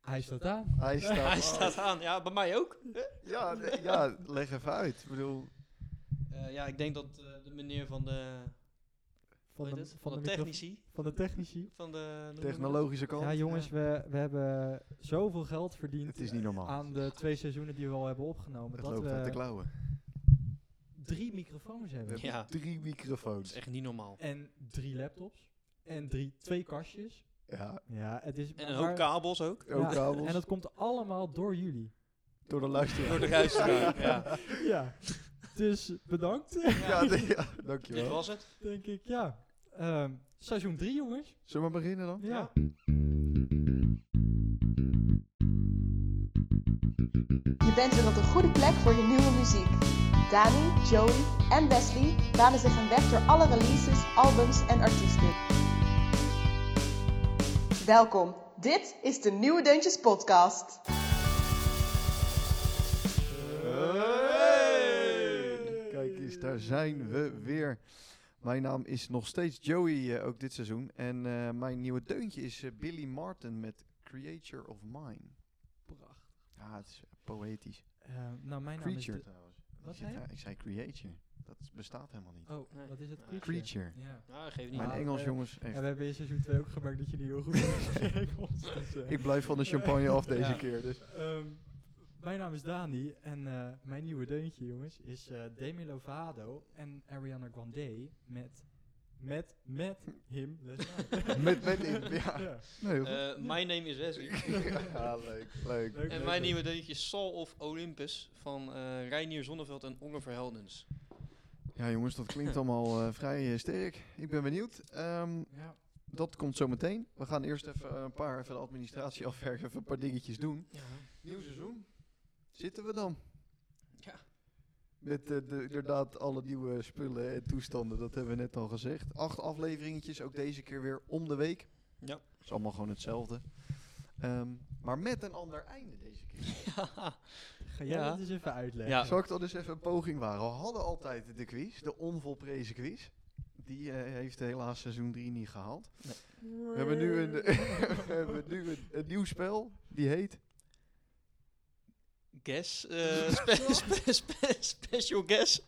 Hij staat aan. Hij staat, Hij aan. staat aan. Ja, bij mij ook. Ja, nee, ja, leg even uit. Ik bedoel, Eh, ja, ik denk dat eh, de meneer van de, Van hoe heet de, het? van dus, van de, de micro- technici. Van de technici. Van de hoe noem je dat? technologische kant. Ja, jongens, we, we hebben zoveel geld verdiend het is niet normaal. aan de twee seizoenen die we al hebben opgenomen. het dat loopt uit de we klauwen. drie microfoons We hebben. hebben Ja. drie Dat is microfoons. echt niet normaal. En drie laptops. En drie, twee kastjes. Ja, Ja, het is... En een hoop maar- kabels ook. ook Ja, kabels. En dat komt allemaal door jullie. door de luisteraar. Door de luisteraar. ja. Ja. Dus bedankt, Ja, nee, ja, Dit dankjewel. was het. denk ik. Ja. Ehm, seizoen 3, jongens. Zullen we maar beginnen dan? Ja. Je bent weer op de goede plek voor je nieuwe muziek. Dani, Joey en Wesley banen zich een weg door alle releases, albums en artiesten. Welkom, dit is de Nieuwe Deuntjes Podcast. Hey! Kijk eens, daar zijn we weer. Mijn naam is nog steeds Joey, eh, ook dit seizoen. En eh, mijn nieuwe deuntje is eh, Billy Martin met Creature of Mine. Prachtig. Ja, het is poëtisch. Ehm, nou, mijn naam is... Creature De, trouwens. wat Ik zei zei- je? ja, ik zei creature. Dat is- bestaat helemaal niet. Oh, Nee. wat is het? Ah. Creature. Creature. Ja. Nou, geef niet. Mijn Ah, Engels, eh, jongens. En echt. we hebben in seizoen 2 ook gemerkt dat jullie heel goed zijn in Engels. Dus, eh, Ik blijf van de champagne af deze Ja. keer. Dus. ehm, mijn naam is Dani en eh, mijn nieuwe deuntje, jongens, is eh Demi Lovato en Ariana Grande met... Met, met him. Let's Ride. Met, met, in, ja. Ja. Nee, heel goed. Eh, mijn name is Wesley. ja, leuk, Leuk, leuk. leuk, En mijn leuk. nieuwe deuntje is Saul of Olympus van eh Reinier Zonneveld en Onge Verheldens. Ja, jongens, dat klinkt allemaal eh, vrij eh, sterk. Ik ben benieuwd. Ehm, Ja. dat komt zo meteen. We gaan eerst even eh, een paar even de administratie afwerken, even een paar dingetjes doen. Ja. Nieuw seizoen. Zitten we dan? Ja. Met eh, de, inderdaad alle nieuwe spullen en toestanden, dat hebben we net al gezegd. Acht afleveringetjes, ook deze keer weer om de week. Ja. is allemaal gewoon hetzelfde. Ehm, maar met een ander einde deze keer. Ga jij Ja. dat eens even uitleggen? Ja. Zal ik dan eens even een poging waren? We hadden altijd de quiz, de onvolprezen quiz. Die eh, heeft helaas seizoen 3 niet gehaald. We hebben nu, een, we hebben nu een, een nieuw spel, die heet... Guess. eh, spe- spe- spe- special guess.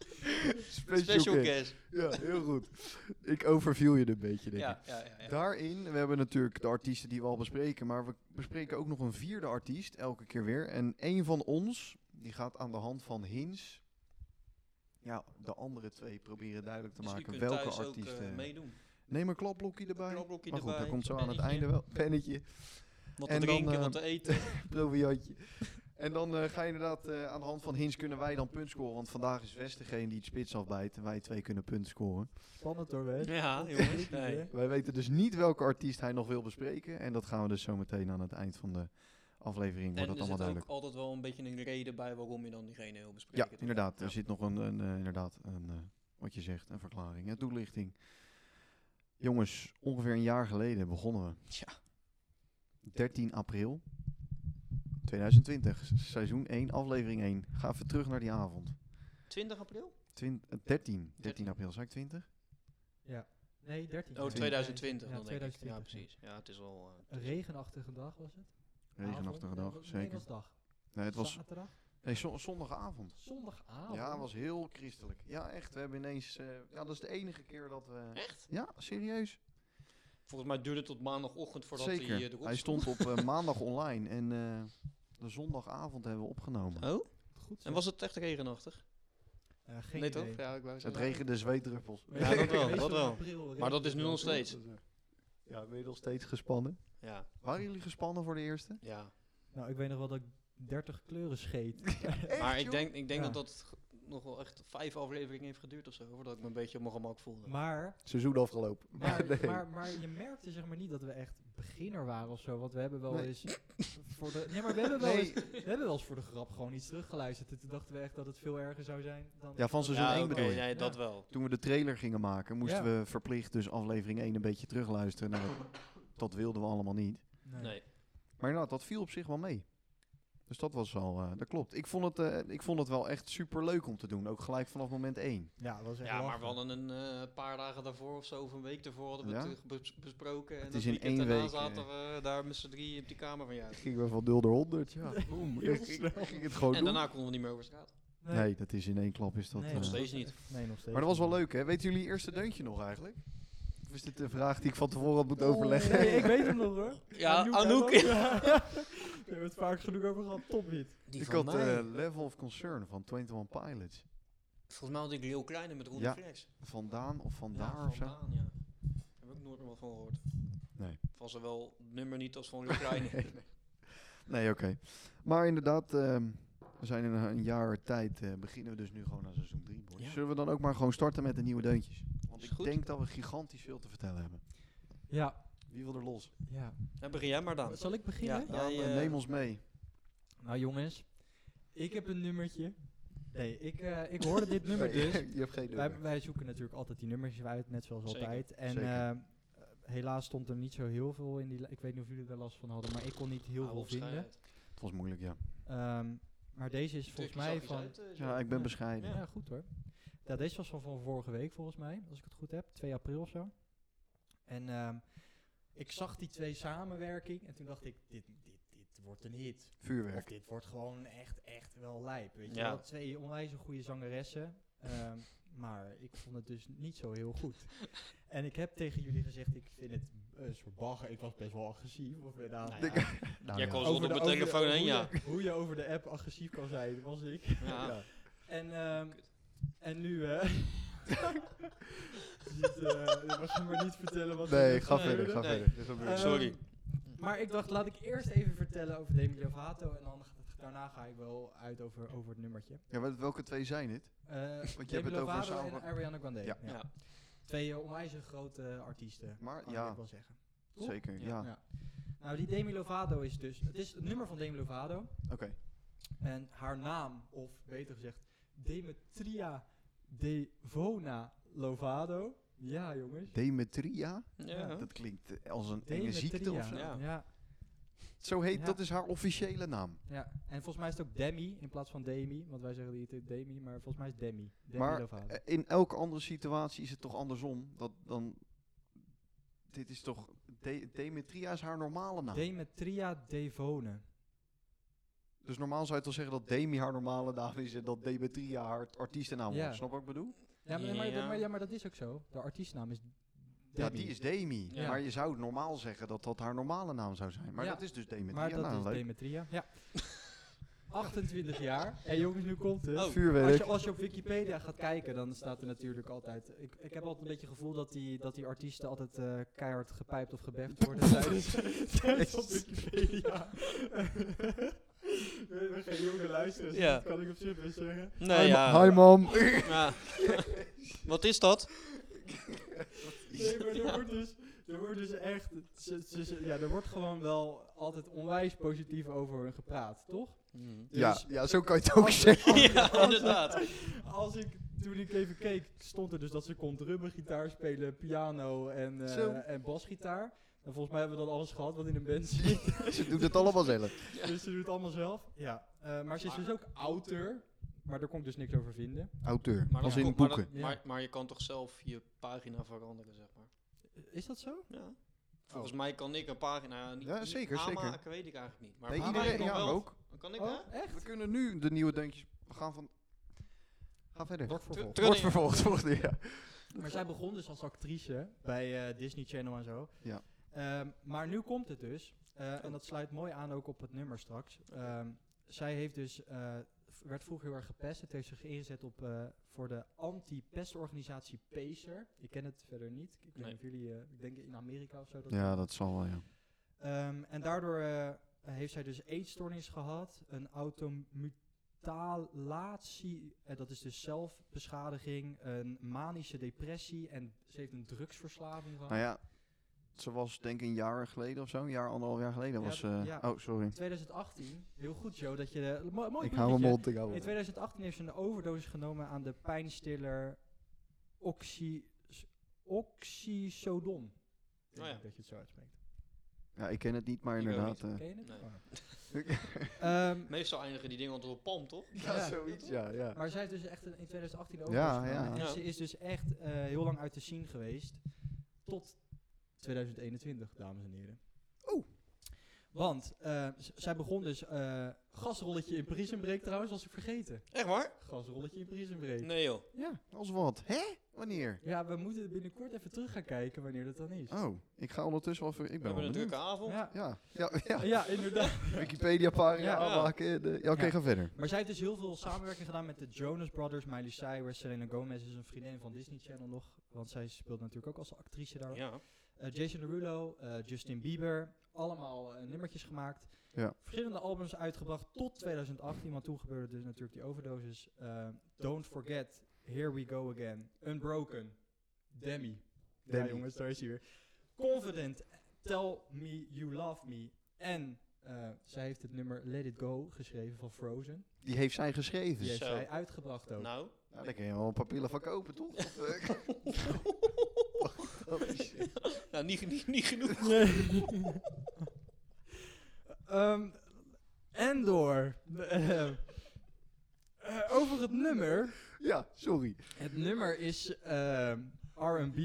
Special, Special Guest. guess. Ja, heel goed. Ik overviel je een beetje, denk ik. Ja, ja, ja. ja. Daarin, we hebben natuurlijk de artiesten die we al bespreken, maar we bespreken ook nog een vierde artiest, elke keer weer. En één van ons, die gaat aan de hand van hints, ja, de andere twee proberen duidelijk te Dus u maken kunt welke thuis ook, eh, artiesten... meedoen. Neem een klapblokje erbij. Knopblokje maar goed, erbij, dat komt zo aan het pennetje, einde wel. Pennetje, Wat te En dan, drinken, eh, wat te eten. proviantje. En dan eh, ga je inderdaad eh, aan de hand van hints kunnen wij dan punt scoren. Want vandaag is West degene die het spits afbijt en wij twee kunnen punt scoren. Spannend hoor, Wes. ja, jongens. Nee. Wij weten dus niet welke artiest hij nog wil bespreken. En dat gaan we dus zo meteen aan het eind van de aflevering. Wordt dat En dus er zit allemaal ook duidelijk. altijd wel een beetje een reden bij waarom je dan diegene wil Ja, bespreken. toch? inderdaad. Er Ja. zit nog een, een eh, inderdaad, een, eh, wat je zegt, een verklaring, een toelichting. Jongens, ongeveer een jaar geleden begonnen we. Tja. 13 april 2020, s- seizoen 1, aflevering 1. Ga even terug naar die avond. 20 april? Twin- eh, 13, 13 13. april, zei ik 20? Nee, 13. Oh, 2020 Ja, dan denk ik. Ja, 2020, precies. Ja, het is al... eh, Een regenachtige dag was het. Regenachtige Avond. dag, Nee, het zeker. was dag. Nee, het was Zaterdag. nee, zo- zondagavond. Zondagavond. Ja, het was heel christelijk. Ja, echt. We hebben ineens... eh, ja, dat is de enige keer dat we... Echt? Ja, serieus. Volgens mij duurde het tot maandagochtend voordat Zeker. hij Hij, eh, erop stond op eh, maandag online en eh, de zondagavond hebben we opgenomen. Oh, goed. zo. en was het echt regenachtig? Eh, geen nee idee. toch? Ja, ik wou Het zeggen. regende zweetdruppels. Ja, dat wel, Meestal dat wel. in april regent Maar dat is nu het nog steeds. Ja, ben je nog steeds gespannen? Ja, Waren jullie gespannen voor de eerste? ja. Nou, ik weet nog wel dat ik 30 kleuren scheet. maar joh? ik denk, ik denk Ja. dat dat g- nog wel echt vijf afleveringen heeft geduurd of zo, voordat ik me een beetje op mijn gemak voelde. maar, Seizoen afgelopen. maar, nee. maar, maar je merkte zeg maar niet dat we echt beginner waren of zo. Want we hebben wel Nee. eens... Voor de, nee, maar we hebben, wel Nee. eens, we hebben wel eens voor de grap gewoon iets teruggeluisterd. En toen dachten we echt dat het veel erger zou zijn dan... Ja, van seizoen ja, 1 oké, bedoel je? ja, dat Ja. wel. Toen we de trailer gingen maken, moesten Ja. we verplicht dus aflevering 1 een beetje terugluisteren. Nou, dat- dat wilden we allemaal niet. Nee. Nee. Maar inderdaad, dat viel op zich wel mee. Dus dat was al, eh, dat klopt. Ik vond, het, eh, ik vond het wel echt super leuk om te doen. Ook gelijk vanaf moment één. Ja, dat was echt Ja, maar lachen. we hadden een eh, paar dagen daarvoor of zo, of een week daarvoor hadden we Ja? het eh, bes- besproken. en Het dat is in weekend één daarna week, zaten eh. Oh, we daar met z'n drieën op die kamer van jou. Het ging wel van 0 naar 100, ja. Boom, Ik, ik- ik ging het gewoon En doen. daarna konden we niet meer over straat. Nee, Nee, dat is in één klap is dat... nee, eh, nog steeds dat- niet. Nee, nog steeds maar dat was wel niet. leuk, hè? Weten jullie eerste deuntje nog eigenlijk? Of is dit een vraag die ik van tevoren had Oh, moeten Oeh, overleggen? nee, ik weet hem nog hoor. Ja, Anouk. Anouk. hè, man? Ja. We hebben het vaak genoeg over gehad. Topbeat. Die ik had eh, Level of Concern van 21 Pilots. Volgens mij had ik Leo Kleine met Ronde Ja. Flex. Vandaan of vandaar ja, of zo? vandaan, ja. Daar heb ik nooit meer wat van gehoord. Nee. Van zowel het nummer niet als van Leo Kleine. Nee, Nee, oké. Maar inderdaad, ehm, we zijn in een, een jaar tijd, eh, beginnen we dus nu gewoon aan seizoen 3. Ja. Zullen we dan ook maar gewoon starten met de nieuwe deuntjes? Want Is ik goed. denk dat we gigantisch veel te vertellen hebben. Ja, Wie wil er los? ja. Dan begin jij maar dan. Zal ik beginnen? Ja. Daan, Jij, eh, eh, neem ons mee. Nou jongens, ik heb een nummertje. Nee, ik, eh, ik hoorde dit nummer dus. je hebt geen Wij, nummer. wij zoeken natuurlijk altijd die nummertjes uit, net zoals Zeker, altijd. En zeker. ehm, eh, helaas stond er niet zo heel veel in die. li- Ik weet niet of jullie er last van hadden, maar ik kon niet heel Oude veel vinden. bescheidenheid. Het was moeilijk, ja. Ehm, maar deze is volgens Druk mij jezelf van. eens uit, eh, Ja, zo. ik ben bescheiden. Ja, goed hoor. Ja, deze was van, van vorige week volgens mij, als ik het goed heb. 2 april of zo. En ehm, ik zag die twee samenwerking en toen dacht ik, dit, dit, dit wordt een hit. Of Vuurwerk. dit wordt gewoon echt, echt wel lijp. Weet je Ja. wel, twee onwijs goede zangeressen. ehm, maar ik vond het dus niet zo heel goed. en ik heb tegen jullie gezegd, ik vind het een soort bagger. Ik was best wel agressief. Of, eh, nou, Nou ja, ja. Nou, Jij ja. kon zo- op mijn over telefoon over heen, hoe ja. je- hoe je over de app agressief kan zijn, was ik. Ja. En, ehm, Kut. en nu, hè? niet, eh, we gaan maar niet vertellen wat er Oh. Nee, net ga gebeurde. verder, ga nee. verder. Dit is alweer- Ehm, Sorry. maar ik dacht, laat ik eerst even vertellen over Demi Lovato. En dan, g- daarna ga ik wel uit over, over het nummertje. Ja, wel- welke twee zijn dit? Eh Want hebt het over Lovato samen- en Ariana Grande. Ja. Ja. Twee eh, onwijs grote artiesten, Maar kan ik ja, wel zeggen. Toch? zeker. Ja. Ja, Ja. Nou, die Demi Lovato is dus... Het is het nummer van Demi Lovato. oké. En haar naam, of beter gezegd, Demetria Devona Lovato. Ja, jongens. Demetria? Ja. Dat klinkt eh, als een enge ziekte Demetria, of zo. Ja. Ja, Zo heet, Ja. dat is haar officiële naam. ja. En volgens mij is het ook Demi in plaats van Demi. Want wij zeggen die het Demi, maar volgens mij is het Demi. Demi Maar, Lovato. Eh, In elke andere situatie is het toch andersom. Dat dan... Dit is toch... De- Demetria is haar normale naam. Demetria Devone. dus normaal zou je toch zeggen dat Demi haar normale naam is en dat Demetria haar artiestennaam Ja. wordt. Snap wat ik bedoel? Ja, maar, maar, Ja. maar- ja, maar dat is ook zo. De artiestnaam is Ja, Demi. die is Demi. Ja. Maar je zou normaal zeggen dat dat haar normale naam zou zijn. Maar Ja. dat is dus Demetria. Maar dat nou, is leuk. Demetria. Ja. 28 jaar. En jongens, nu komt het. Oh. Als Vuurwerk. je, als je op Wikipedia gaat kijken, dan staat er natuurlijk altijd... Ik, ik heb altijd een beetje het gevoel dat die, dat die artiesten altijd eh, keihard gepijpt of gebeft worden tijdens, tijdens op Wikipedia. We gaan jonge luisteren, dus Ja. dat kan ik op zich zeggen. Nee, ja. mam. Ja. Wat is dat? Nee, maar er wordt dus, er wordt dus echt... ze- ze- ze- ja, er wordt gewoon wel altijd onwijs positief over hun gepraat, toch? Ja, Hmm. Dus- ja, zo kan je het ook zeggen. ja, inderdaad. Als ik, toen ik even keek, stond er dus dat ze kon drummen, gitaar spelen, piano en, eh, Zo. en basgitaar. En volgens mij hebben we dan alles gehad wat in een band zit. Ze doet het allemaal zelf. dus ze doet het allemaal zelf. Ja. Eh, maar ze is dus ook auteur. Maar daar kon ik dus niks over vinden. Auteur. Maar, als dat in komt- maar boeken. dat- Ja. maar, maar je kan toch zelf je pagina veranderen, zeg maar. Is dat zo? Ja. Volgens mij kan ik een pagina niet, Oh. Ja, niet zeker, zeker. aanmaken, weet ik eigenlijk niet. Maar Nee, volgens mij iedereen. kan Ja, wel. ook. Kan ik, hè? Oh, echt? We kunnen nu de nieuwe deuntjes. We gaan van. Ga verder. Wordt vervolgd. Ter- Wordt vervolgd, volgende ja. Maar zij begon dus als actrice bij eh, Disney Channel en zo. Ja. Ehm, maar nu komt het dus. eh, en dat sluit mooi aan ook op het nummer straks. Ehm, zij heeft dus, eh, v- werd vroeger heel erg gepest. Het heeft zich ingezet op, eh, voor de anti-pestorganisatie PACER. Ik ken het verder niet. Ik, weet Nee. niet of jullie, eh, ik denk in Amerika of zo. dat Ja, dat zal wel, ja. Ehm, en daardoor eh, heeft zij dus eetstoornis gehad, een automutilatie, eh, dat is dus zelfbeschadiging, een manische depressie en ze heeft een drugsverslaving gehad. Nou ja, ze was denk ik een jaar geleden of zo. Een jaar, anderhalf jaar geleden Ja, was ze... ja. Oh, sorry. In 2018, heel goed Joe, dat je... De, mo- mooi Ik hou mijn bruggetje. mond, ik hou In mijn mond. 2018 heeft ze een overdosis genomen aan de pijnstiller oxy, oxysodon. Ik Oh denk ja. dat je het zo uitspreekt. Ja, ik ken het niet, maar Ik ook inderdaad. niet. eh, Ken je het? Nee. Oh. Ehm, Meestal eindigen die dingen altijd op palm, toch? eh. Ja. zoiets, ja. ja. maar zij is dus echt een- in 2018 ook. Ja, ja. En Ja. ze is dus echt eh, heel lang uit de scene geweest. Tot 2021, dames en heren. Oeh. Want eh, z- zij begon dus eh, gasrolletje in Prison Break trouwens, was ik vergeten. Echt waar? Gasrolletje in Prison Break. Nee joh. Ja, als wat. Hè? Wanneer? Ja, we moeten binnenkort even terug gaan kijken wanneer dat dan is. Oh, ik ga ondertussen wel ver... Ik We ben wel hebben benieuwd. een drukke avond. Ja. Ja, ja, ja. ja, inderdaad. Wikipedia-pagina Ja. aanmaken. eh, de- Ja, oké, Ja. ga verder. Maar zij heeft dus heel veel samenwerking gedaan met de Jonas Brothers, Miley Cyrus, Selena Gomez is een vriendin van Disney Channel nog. Want zij speelt natuurlijk ook als actrice daar. Ja. Eh, Jason Derulo, eh, Justin Bieber, allemaal eh, nummertjes gemaakt. Ja. Verschillende albums uitgebracht tot 2018, want toen gebeurde dus natuurlijk die overdosis. Eh, Don't Forget, Here We Go Again, Unbroken, Demi. Ja Demi. jongens, daar is hij weer. Confident, Tell Me You Love Me. En eh, zij heeft het nummer Let It Go geschreven van Frozen. Die heeft zij geschreven. Die heeft Zo. zij uitgebracht ook. Nou. Nou, daar kun je wel een paar pillen van kopen, toch? eh, Oh, Holy shit. nou, niet, geno- niet genoeg. Ehm, en door. Eh, eh, over het nummer. ja, sorry. Het nummer is ehm, R&B.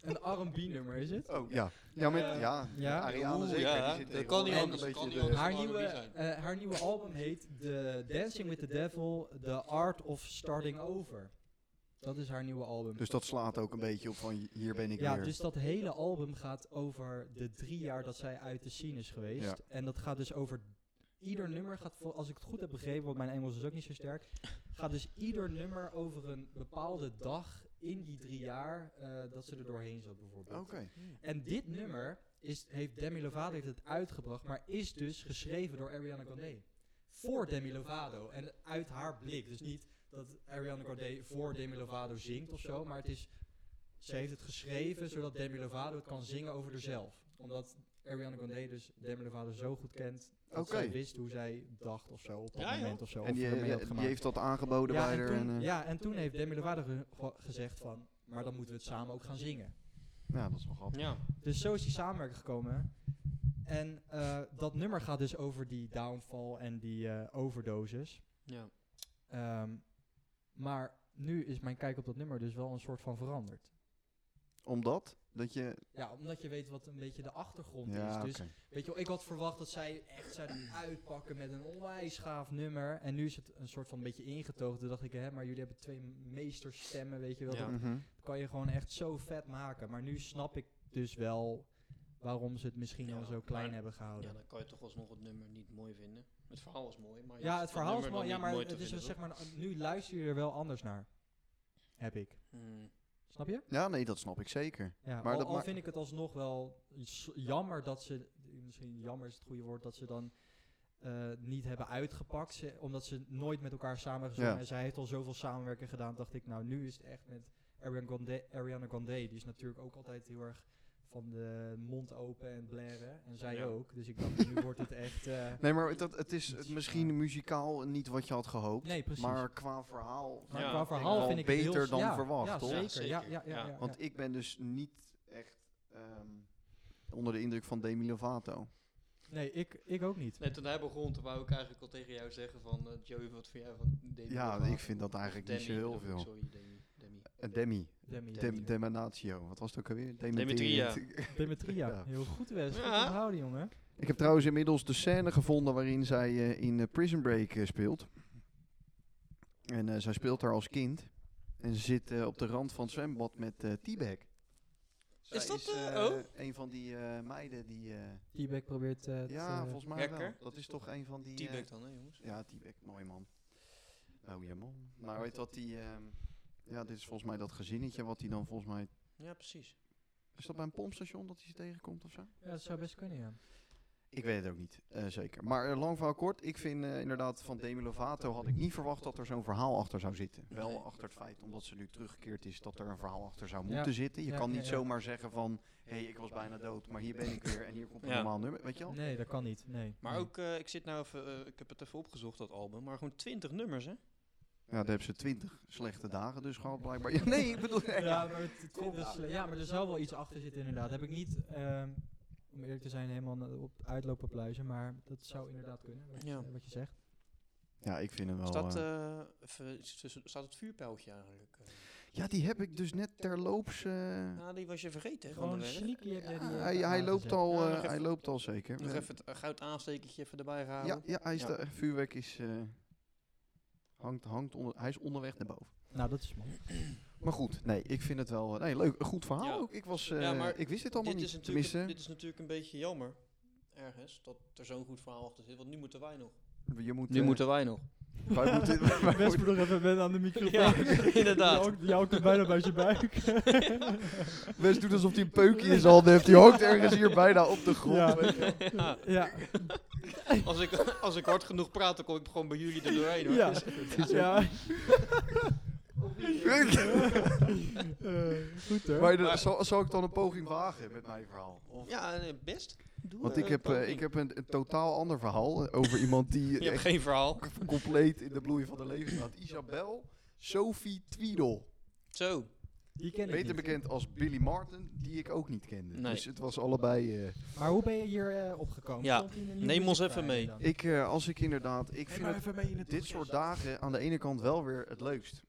Een R&B nummer is het. Oh, ja. Ja, met, Eh, ja, ja. Ariane Oeh, zeker. ja, die zit dat tegenwoordig kan niet anders, ook Een dat beetje kan niet de- Haar R&B nieuwe, zijn. eh, haar nieuwe album heet The Dancing with the Devil, The Art of Starting Over. Dat is haar nieuwe album. Dus dat slaat ook een beetje op van hier ben ik Ja, weer. dus dat hele album gaat over de drie jaar dat zij uit de scene is geweest. Ja. En dat gaat dus over ieder nummer, gaat vol- als ik het goed heb begrepen, want mijn Engels is ook niet zo sterk, gaat dus ieder nummer over een bepaalde dag in die drie jaar eh, dat ze er doorheen zat bijvoorbeeld. Oké. En dit nummer is, heeft Demi Lovato heeft het uitgebracht, maar is dus geschreven door Ariana Grande. Voor Demi Lovato en uit haar blik. Dus niet dat Ariana Grande voor Demi Lovato zingt of zo, maar het is, ze heeft het geschreven zodat Demi Lovato het kan zingen over haarzelf. Omdat Ariana Grande dus Demi Lovato zo goed kent, dat Oké. zij wist hoe zij dacht of zo op dat Ja, joh. moment of zo. En of die, eh, ermee had die gemaakt. heeft dat aangeboden Ja, bij en haar. toen, en, eh, ja, en toen heeft Demi Lovato ge- ge- gezegd van, maar dan moeten we het samen ook gaan zingen. ja, dat is wel grappig. Ja. Dus zo is die samenwerking gekomen. En eh, dat nummer gaat dus over die downfall en die eh, overdosis. ja. Ehm, maar nu is mijn kijk op dat nummer dus wel een soort van veranderd. Omdat? Dat je... Ja, omdat je weet wat een beetje de achtergrond Ja, is. Dus oké. weet je, wel, ik had verwacht dat zij echt zouden uitpakken met een onwijs gaaf nummer. En nu is het een soort van een beetje ingetogen. Toen dacht ik, hè, maar jullie hebben twee meesterstemmen, weet je wel. Ja. Dat Mhm. kan je gewoon echt zo vet maken. Maar nu snap ik dus wel waarom ze het misschien Ja, al zo klein maar- hebben gehouden. ja, dan kan je toch alsnog het nummer niet mooi vinden. Het verhaal was mooi, maar... je Ja, hoeft het verhaal is nummer mooi. dan Ja, niet maar mooi het te is dus vinden, zeg maar, nu luister je er wel anders naar. Heb ik. toch? Hmm. Snap je? ja, nee, dat snap ik zeker. Ja, Maar al, dat al ma- vind ik het alsnog wel s- jammer dat ze, misschien jammer is het goede woord, dat ze dan eh, niet hebben uitgepakt. Ze- omdat ze nooit met elkaar samen gezongen. Ja. En zij heeft al zoveel samenwerking gedaan, dacht ik, nou nu is het echt met Ariana Grande. Ariana Grande die is natuurlijk ook altijd heel erg van de mond open en blaren. En zij Ja. ook. Dus ik dacht, nu wordt het echt... eh, Nee, maar dat, het is het misschien muzikaal niet wat je had gehoopt. nee, precies. Maar qua verhaal. Maar Ja, qua ik denk verhaal wel vind ik het beter heel s- dan ja, verwacht, ja, toch? Zeker. Ja, Zeker, ja, ja, ja. ja, Want ja. ik ben dus niet echt ehm, onder de indruk van Demi Lovato. nee, ik, ik ook niet. Nee, toen hij begon, toen wou ik eigenlijk al tegen jou zeggen van... eh, Joey, wat vind jij van Demi? Ja, Lovato? ik vind dat Of eigenlijk niet Demi, zo heel bedoel ik, veel. Sorry, Demi. Demi. Eh, Demi. Demi, Dem, Demonatio. Wat was het ook alweer? Demetria. Demetria. Demetria. Ja. Heel goed, Wes. Ja. Goed onthouden, jongen. Ik heb trouwens inmiddels de scène gevonden waarin zij eh, in eh, Prison Break eh, speelt. En eh, zij speelt daar als kind. En ze zit eh, op de rand van het zwembad met eh T-Bag. Zij Is dat, eh, eh, oh? een van die eh, meiden die... eh, T-Bag probeert eh, het... ja, eh, volgens mij wel. Hacker? Dat is toch een van die... eh, T-Bag dan, hè, jongens? ja, T-Bag. Mooi man. Nou, ja man. Maar weet wat die... ehm, ja, dit is volgens mij dat gezinnetje wat hij dan volgens mij... Ja, precies. Is dat bij een pompstation dat hij ze tegenkomt of zo? ja, dat zou best kunnen, ja. Ik weet het ook niet, eh, zeker. Maar eh, lang verhaal kort, ik vind eh, inderdaad van Demi Lovato had ik niet verwacht dat er zo'n verhaal achter zou zitten. Nee. Wel achter het feit, omdat ze nu teruggekeerd is, dat er een verhaal achter zou Ja. moeten zitten. Je Ja, kan ja, niet ja. zomaar zeggen van, hé, hey, ik was bijna dood, maar hier ben ik weer en hier komt een Ja. normaal nummer, weet je wel? Nee, dat kan niet. Nee. Maar Nee. ook, eh, ik zit nou even... eh, ik heb het even opgezocht, dat album. Maar gewoon 20 nummers, Oh, hè? Ja, daar hebben ze twintig slechte dagen dus gehad blijkbaar. Ja, nee, ik bedoel... Ja, maar, het, het- dat is- ja, maar er zou wel iets achter zitten, inderdaad. Heb ik niet... ehm, om eerlijk te zijn, helemaal na- op het uitlopen pluizen. Maar dat zou inderdaad kunnen, wat, je- Ja. wat je zegt. Ja, ik vind hem wel... Staat, eh, eh, even tussen- staat het vuurpijltje eigenlijk? eh? ja, die heb ik dus net terloops... eh, Ah, die was je vergeten, hè, van de Gewoon weg. sneaky heb jij die... eh, hij, hij, aangezet. loopt al, Ja, eh, nog hij even- loopt al zeker. Nog Eh, even het eh, goud aanstekertje even erbij halen. Ja, ja, hij is Ja. daar- vuurwerk is, eh, hangt, hangt onder, hij is onderweg naar boven. Nou, dat is mooi. Maar goed, nee, ik vind het wel eh, nee, leuk. Een goed verhaal Ja. ook. Ik, was, Ja, eh, maar ik wist dit allemaal dit, niet. is natuurlijk, Tenminste, een- dit is natuurlijk een beetje jammer, ergens, dat er zo'n goed verhaal achter zit. Want nu moeten wij nog. je moet... Nu eh, moeten wij nog. wij moeten- wij moeten- Westbroek even ben aan de microfoon. Ja, inderdaad. Jou- Jou komt bijna bij zijn buik. Wes doet alsof hij een peukje in zijn handen heeft. Die hangt ergens hier bijna op de grond. Ja. weet je wel. Ja, ja. als, ik, als ik hard genoeg praat, dan kom ik gewoon bij jullie er doorheen. Hoor. Ja. Dus- ja. Eh, goed hoor. Maar de- zal, zal ik dan een poging wagen met mijn verhaal? Of- ja, eh, best. Doe Want eh, ik heb, eh, poging. ik heb een, een totaal ander verhaal eh, over iemand die Je hebt echt geen verhaal. compleet in de bloei van haar leven staat. Isabel Sophie Tweedle. Zo. Die ken ik Beter niet. bekend als Billy Martin, die ik ook niet kende. Nee. Dus het was allebei... eh, Maar hoe ben je hier eh, opgekomen? Ja, Stond die in een nieuwe neem ons music even bij mee. dan? ik, eh, als ik inderdaad... Ik vind het, even mee in dit soort dagen aan de ene kant wel weer het leukst.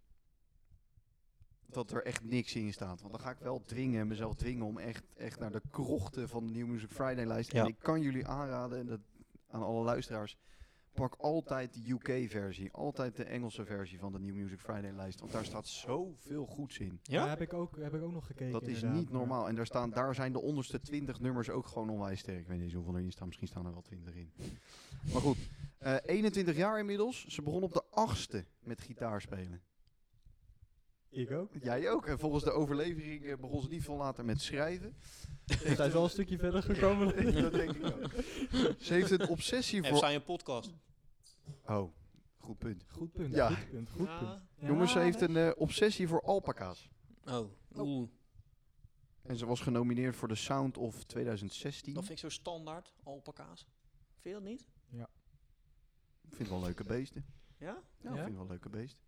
Dat er echt niks in staat. Want dan ga ik wel dringen, mezelf dwingen om echt, echt naar de krochten van de New Music Friday lijst. Ja. En ik kan jullie aanraden, en dat aan alle luisteraars, pak altijd de UK versie. Altijd de Engelse versie van de New Music Friday lijst. Want daar staat zoveel goeds in. Ja? heb ik ook, heb ik ook nog gekeken. Dat is inderdaad, niet maar- normaal. En daar, staan, daar zijn de onderste 20 nummers ook gewoon onwijs sterk. Ik weet niet eens hoeveel erin staan. Misschien staan er wel 20 in. Maar goed, eh, 21 jaar inmiddels. Ze begon op de achtste met gitaar spelen. Ik ook. Jij ook. En volgens de overlevering eh, begon ze niet veel later met schrijven. Ze zijn wel een stukje verder gekomen. dan ik. Dat denk ik ook. Ze heeft een obsessie Heb voor... zij een podcast? Oh, goed punt. Goed punt, Ja. goed punt, goed Ja. punt. Ja, Jongens, ze heeft een eh, obsessie voor alpaca's. Oh, oeh. En ze was genomineerd voor de Sound of 2016. Dat vind ik zo standaard, alpaca's. Vind je dat niet? Ik vind wel leuke beesten. Ja? Ja, Ja? ik vind wel leuke beesten.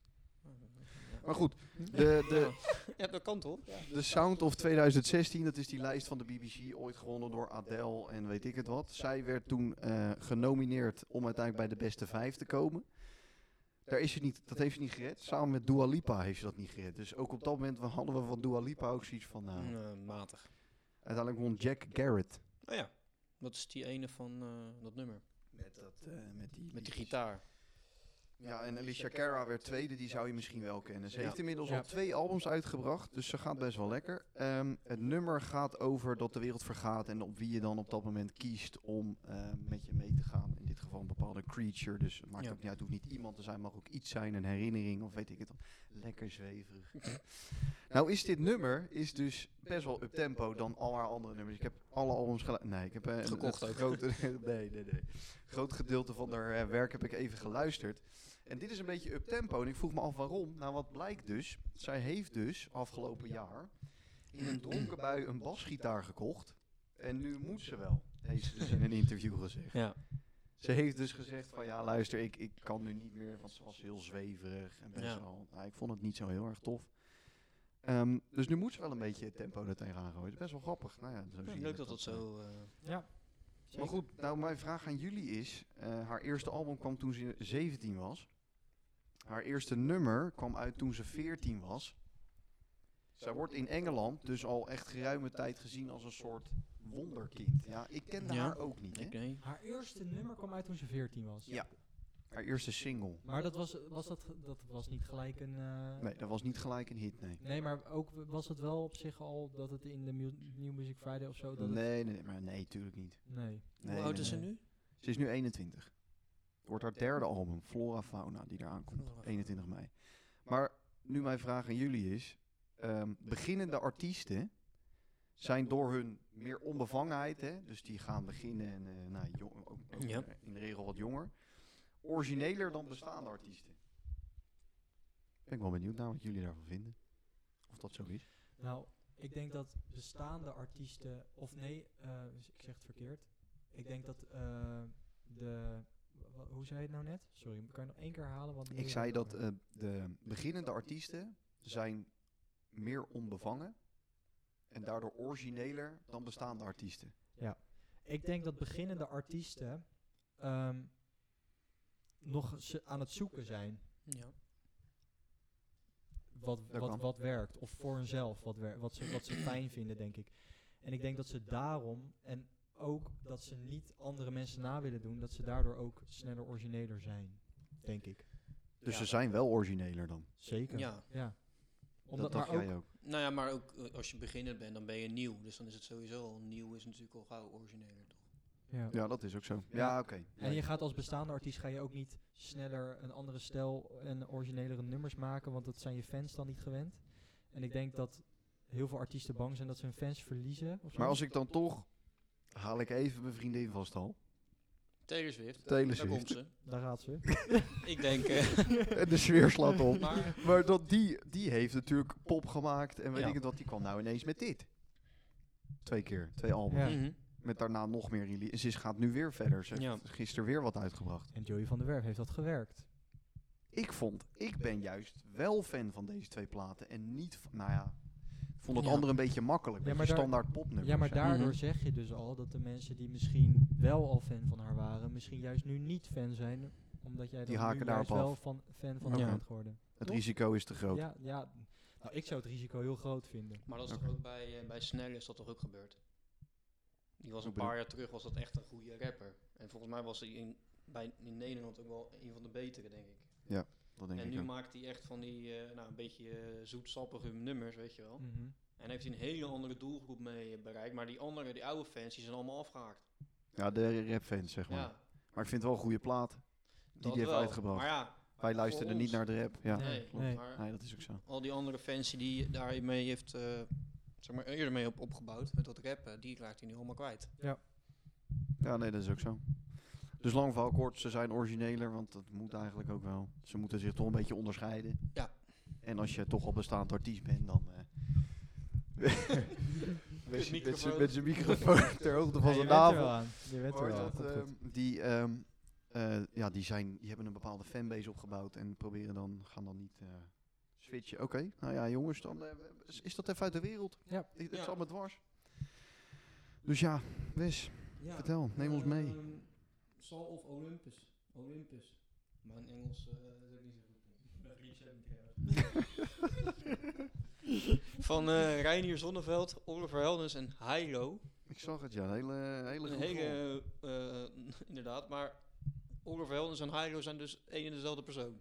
Maar goed, de, de, Ja, dat kan toch? Ja. De Sound of 2016, dat is die lijst van de BBC, ooit gewonnen door Adele en weet ik het wat. Zij werd toen eh, genomineerd om uiteindelijk bij de beste vijf te komen. Daar is ze niet, dat heeft ze niet gered. Samen met Dua Lipa heeft ze dat niet gered. Dus ook op dat moment hadden we van Dua Lipa ook zoiets van... nou, Eh, matig. Uiteindelijk won Jack Garrett. Oh ja, dat is die ene van eh, dat nummer. Met, dat, eh, met, die, Met die gitaar. Ja, en Alicia Cara werd tweede, die zou je misschien wel kennen. Ze Ja. heeft inmiddels Ja. al twee albums uitgebracht, dus ze gaat best wel lekker. Ehm, het nummer gaat over dat de wereld vergaat en op wie je dan op dat moment kiest om ehm, met je mee te gaan. In dit geval een bepaalde creature, dus het maakt Ja. ook niet uit, het hoeft niet iemand te zijn, mag ook iets zijn, een herinnering of weet ik het dan. Lekker zweverig. nou is dit nummer is dus best wel up-tempo dan al haar andere nummers. Ik heb alle albums gelu- Nee, ik heb eh, een- Gekocht een ook. grote- nee, nee, nee. Groot gedeelte van haar eh, werk heb ik even geluisterd. En dit is een beetje up-tempo. En ik vroeg me af waarom. Nou, wat blijkt dus. Zij heeft dus afgelopen jaar in een dronken bui een basgitaar gekocht. En nu moet ze wel. Heeft ze dus in een interview gezegd. Ja. Ze heeft dus gezegd van ja, luister, ik, ik kan nu niet meer. Want ze was heel zweverig en best Ja. wel... Nou, ik vond het niet zo heel erg tof. Ehm, dus nu moet ze wel een beetje het tempo er tegenaan gooien. Het is best wel grappig. Nou ja, zo zie je leuk dat dat eh, zo... eh, Ja. maar goed, nou mijn vraag aan jullie is, eh, haar eerste album kwam toen ze 17 was. Haar eerste nummer kwam uit toen ze 14 was. Zij wordt in Engeland dus al echt geruime tijd gezien als een soort wonderkind. Ja, ik kende Ja. haar ook niet, hè? nee. Haar eerste nummer kwam uit toen ze 14 was. Ja. Haar eerste single. Maar dat was, was, dat, ge- dat was niet gelijk een... eh, Nee, dat was niet gelijk een hit, nee. nee, maar ook w- was het wel op zich al dat het in de mu New Music Friday of zo... Oh, Dat het- Nee, nee, maar nee, tuurlijk niet. nee. Nee, Hoe oud nee, is ze nee. nu? Ze is nu 21. Het wordt haar derde album, Flora Fauna, die eraan komt. Flora Fauna. 21 mei. Maar nu mijn vraag aan jullie is... ehm, beginnende artiesten zijn door hun meer onbevangenheid... Hè, dus die gaan beginnen en eh, nou, jong, ook, ook, Ja. eh, in de regel wat jonger... origineler dan bestaande artiesten. Ben ik wel benieuwd naar wat jullie daarvan vinden. Of dat zo is. Nou, ik denk dat bestaande artiesten, of nee, eh, ik zeg het verkeerd. Ik denk dat eh, de, wa- hoe zei je het nou net? Sorry, kan je nog één keer halen? Want Ik zei dat eh, de beginnende artiesten zijn meer onbevangen... en daardoor origineler dan bestaande artiesten. ik denk dat beginnende artiesten ehm, nog eens aan het zoeken zijn Ja. wat, Dat wat, kan. wat werkt. Of voor hunzelf wat, wer- wat, ze, wat ze fijn vinden, denk ik. En ik denk dat ze daarom, en ook dat ze niet andere mensen na willen doen, dat ze daardoor ook sneller origineler zijn, denk ik. Dus Ja. ze zijn wel origineler dan. Zeker. ja. Ja. Dat Omdat, dacht maar ook, jij ook. Nou ja, maar ook eh, als je beginnend bent, dan ben je nieuw. Dus dan is het sowieso al nieuw, is natuurlijk al gauw origineler, toch? ja. Ja, dat is ook zo. Ja, Ja. oké. En je Ja. gaat als bestaande artiest ga je ook niet sneller een andere stijl en originelere nummers maken, want dat zijn je fans dan niet gewend. En ik denk dat heel veel artiesten bang zijn dat ze hun fans verliezen. of zo. Maar als ik dan toch... Haal ik even mijn vriendin vast al. Taylor Swift. Taylor Daar Swift. komt ze. Daar gaat ze. Ik denk, eh, En de sfeer slaat op. maar Maar dat die, die heeft natuurlijk pop gemaakt en weet Ja. ik het wat. Die kwam nou ineens met dit. Twee keer, twee albums. Ja. Mhm. Met daarna nog meer release. En ze is- gaat nu weer verder. Ze heeft Ja. gisteren weer wat uitgebracht. En Joey van der Werf heeft dat gewerkt. Ik vond, ik ben juist wel fan van deze twee platen. En niet, van- nou ja, ik vond het Ja. andere een beetje makkelijk. Ja, Ja, maar daar- standaard popnummers. Ja, maar hè. daardoor Mhm. zeg je dus al dat de mensen die misschien wel al fan van haar waren, misschien juist nu niet fan zijn, omdat jij Die dan nu haken daarop juist wel af. van, fan van Ja. haar bent geworden. Het risico is te groot. Ja, ja. Nou, ik zou het risico heel groot vinden. Maar dat is toch ook bij, eh, bij Snell is dat toch ook gebeurd? Die was Hoe een bedoel- paar jaar terug was dat echt een goede rapper. En volgens mij was hij in, bij, in Nederland ook wel een van de betere, denk ik. Dat denk en ik nu ook. maakt hij echt van die, eh, nou, een beetje eh, zoetsappige nummers, weet je wel. Oh. Mhm. En heeft hij een hele andere doelgroep mee eh, bereikt. Maar die andere, die oude fans, die zijn allemaal afgehaakt. Ja, de rapfans, zeg maar. Ja, Maar ik vind het wel een goede plaat. dat die heeft wel. uitgebracht. Maar ja, Wij luisterden ons. niet naar de rap. Ja, nee. klopt. Nee. Maar Nee, dat is ook zo. al die andere fans die daarmee heeft, eh, zeg maar, eerder mee op, opgebouwd, met dat rappen, die raakt hij nu allemaal kwijt. Ja, nee, dat is ook zo. Dus lang verhaal kort, ze zijn origineler, want dat moet eigenlijk ook wel. Ze moeten zich toch een beetje onderscheiden. Ja. En als je toch al bestaand artiest bent, dan... eh met z'n- met z'n- met zijn microfoon ter hoogte van Ja, je zijn bent er navel. wel aan. Je bent er Maar wel aan. dat, Komt goed. ehm, die, ehm, eh, ja, die, zijn, die hebben een bepaalde fanbase opgebouwd en proberen dan, gaan dan niet eh, switchen. Oké, nou ja jongens, dan eh, is, is dat even uit de wereld. Ja. I- Het Ja. is allemaal dwars. Dus ja, Wes, Ja. vertel, neem ons mee. Ehm, Sal of Olympus. Olympus. Mijn Engels eh, is ook niet zo goed. Van eh Reinier Zonneveld, Oliver Heldens en Heilo. Ik zag het, ja, een hele, hele Een goede goal. hele, eh, inderdaad, maar Oliver Heldens en Heilo zijn dus één en dezelfde persoon.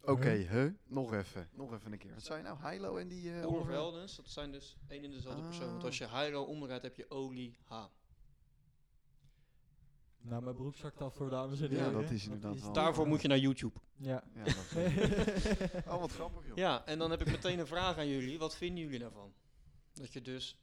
Oké, huh? Nog even. Nog even een keer. Wat zijn nou? Heilo en die... eh, Oliver Oliver? Heldens, dat zijn dus één en dezelfde persoon. Want Ah. Oh. als je Heilo omdraait, heb je Oli H. Nou, mijn broek zakt af voor dames en Ja, heren. dat is inderdaad wel- Daarvoor moet je naar YouTube. Ja. Ja, dat is- oh, wat grappig, joh. Ja, en dan heb ik meteen een vraag aan jullie. Wat vinden jullie daarvan? Dat je dus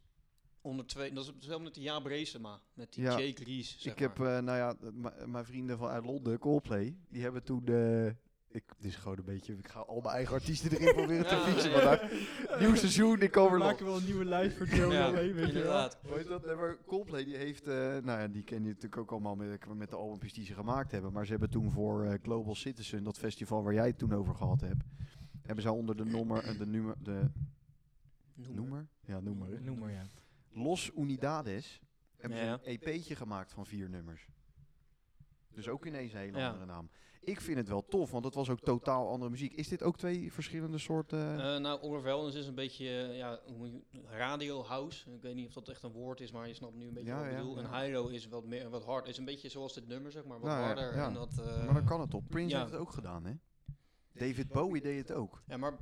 onder twee... Dat is hetzelfde met die Jaap Reesema. Met die Ja. Jake Rees, zeg ik heb, maar. eh, nou ja, d- m- mijn vrienden van uit Londen, Coldplay, die hebben toen... eh ik, dit is gewoon een beetje... Ik ga al mijn eigen artiesten erin proberen te Ja, fietsen nee. vandaag. Nieuw seizoen, ik kom We er nog. maken wel een nieuwe lijst voor eh, Joe Ja, alleen, weet je wel. inderdaad. Weet je dat? Nee, maar Coldplay, die heeft... eh, nou ja, die ken je natuurlijk ook allemaal met, eh, met de albums die ze gemaakt hebben. Maar ze hebben toen voor eh, Global Citizen, dat festival waar jij het toen over gehad hebt... Hebben ze onder de nummer... eh, De nummer... De, Noem maar. noemer? Ja, noemer. hè? Noem maar, ja. Los Unidades hebben Ja. ze een EP'tje gemaakt van vier nummers. Dus ook ineens een hele Ja. andere naam. Ik vind het wel tof, want het was ook totaal andere muziek. Is dit ook twee verschillende soorten? Eh, nou, Oliver Heldens is een beetje eh, ja, hoe moet je- radio house. Ik weet niet of dat echt een woord is, maar je snapt nu een beetje Ja, wat ik ja, bedoel. ja. En Hilo is wat, meer, wat hard. Is een beetje zoals dit nummer, zeg maar. Wat Nou ja, harder. ja. En dat, eh, maar dan kan het op. Prince ja. heeft het ook gedaan, hè? David Bowie deed het ook. Ja, maar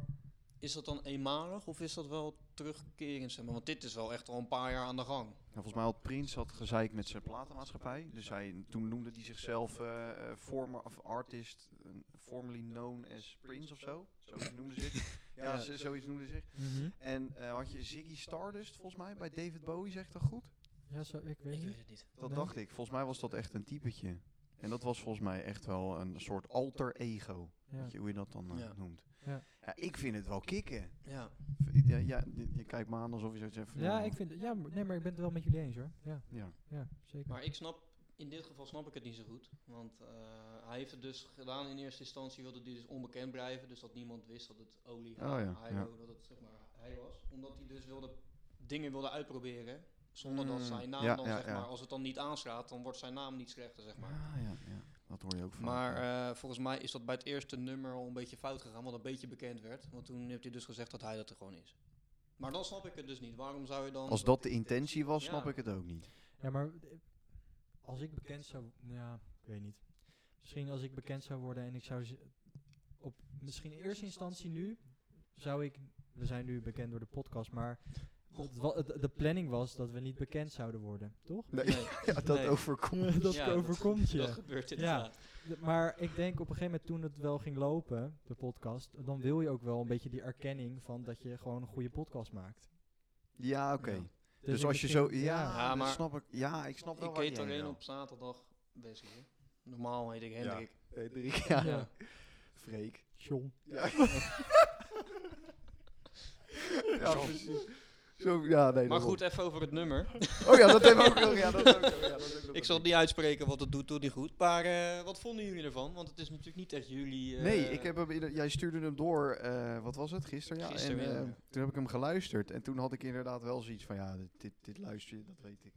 is dat dan eenmalig of is dat wel terugkerend, zeg maar? Want dit is wel echt al een paar jaar aan de gang. En volgens mij had Prince had gezeik met zijn platenmaatschappij. Dus hij, toen noemde hij zichzelf eh, eh, former of artist, eh, formerly known as Prince of zo. Zoiets noemde ze zich. Ja, z- zoiets noemde ze zich. Mhm. En eh, had je Ziggy Stardust, volgens mij, bij David Bowie, zegt dat goed? Ja, zo, ik weet Ik weet niet. het niet. Dat Nee. dacht ik. Volgens mij was dat echt een typetje. En dat was volgens mij echt wel een soort alter ego. Ja. Weet je hoe je dat dan eh, Ja. noemt? Ja. Ja, ik vind het wel kicken. Ja. V- Ja, ja, je, je kijkt me aan alsof je zo zegt. van, Ja, man. ik vind het, ja, maar- nee, maar ik ben het wel met jullie eens hoor. Ja, Ja. ja zeker. Maar ik snap, in dit geval snap ik het niet zo goed. Want eh, hij heeft het dus gedaan in eerste instantie, wilde die dus onbekend blijven. Dus dat niemand wist dat het olie Oh ja, hij ja. dat het zeg maar hij was. Omdat hij dus wilde dingen wilde uitproberen. Zonder dat Mm, zijn naam ja, dan, ja, zeg ja. maar, als het dan niet aanslaat, dan wordt zijn naam niet slechter, zeg maar. Ah, ja, ja. Dat hoor je ook van. Maar eh, volgens mij is dat bij het eerste nummer al een beetje fout gegaan, wat een beetje bekend werd. Want toen heeft hij dus gezegd dat hij dat er gewoon is. Maar dan snap ik het dus niet. Waarom zou je dan... Als dat de intentie was, Ja. snap ik het ook niet. Ja, maar eh, als ik bekend zou... Ja, ik weet niet. Misschien als ik bekend zou worden en ik zou... z- Op, misschien in eerste instantie nu zou ik... We zijn nu bekend door de podcast, maar... het wa- het- de planning was dat we niet bekend zouden worden, toch? Nee, Nee. ja, dat Nee. overkomt. dat Ja, dat- overkomt je. Dat gebeurt inderdaad. D- Maar ik denk op een gegeven moment toen het wel ging lopen, de podcast, dan wil je ook wel een beetje die erkenning van dat je gewoon een goede podcast maakt. Ja, oké. Ja. Dus, ik als je zo... begin- Ja, Ja, dat maar- snap ik. Ja, ik snap wel ik waar eet je heen alleen wil. op zaterdag Wesley. hè. Normaal heet ik Hendrik. Hendrik, ja. Ja. Freek. John. Ja, ja precies. Zo, ja, nee, Maar daarom. goed, even over het nummer. Oh ja, dat hebben we ook nog. Ja, dat hebben we ook nog, ja, dat hebben we ook nog. Ik zal het niet uitspreken, want het doet toch niet goed. Maar eh, wat vonden jullie ervan? Want het is natuurlijk niet echt jullie... eh, Nee, ik heb hem ieder- jij stuurde hem door, eh, wat was het, gisteren? Ja, Gisteren, en ja. eh, toen heb ik hem geluisterd. En toen had ik inderdaad wel zoiets van, ja, dit, dit, dit luister je, dat weet ik.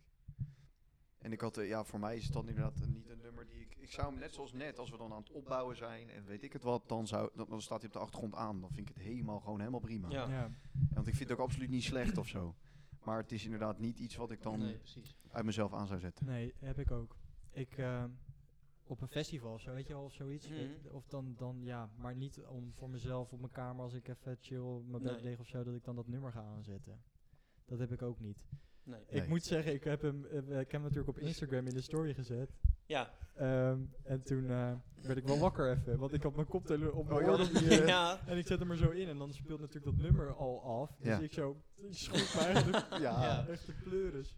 En ik had, eh, ja, voor mij is het dan inderdaad een- niet een nummer die ik... Ik zou hem net zoals net, als we dan aan het opbouwen zijn en weet ik het wat, dan, zou, dan, dan staat hij op de achtergrond aan. Dan vind ik het helemaal, gewoon helemaal prima. Ja. Ja. Want ik vind het ook absoluut niet slecht of zo. Maar het is inderdaad niet iets wat ik dan Nee, precies. uit mezelf aan zou zetten. Nee, heb ik ook. Ik, ehm, op een festival of zo, weet je wel, of zoiets. Mhm. Ik- Of dan, dan, ja, maar niet om voor mezelf op mijn kamer als ik even chill op mijn bed Nee. lig of zo, dat ik dan dat nummer ga aanzetten. Dat heb ik ook niet. Nee. Nee. Ik moet zeggen, ik heb hem, eh, ik heb hem natuurlijk op Instagram in de story gezet. Ja. Ehm, en toen eh, werd ik wel wakker even, want ik had mijn koptelefoon op mijn Oh, je had oor. hem, eh, ja. En ik zet hem er zo in en dan speelt natuurlijk dat nummer al af. Dus Ja. ik zo, ik schrok me eigenlijk Ja. ja. echt de pleuris.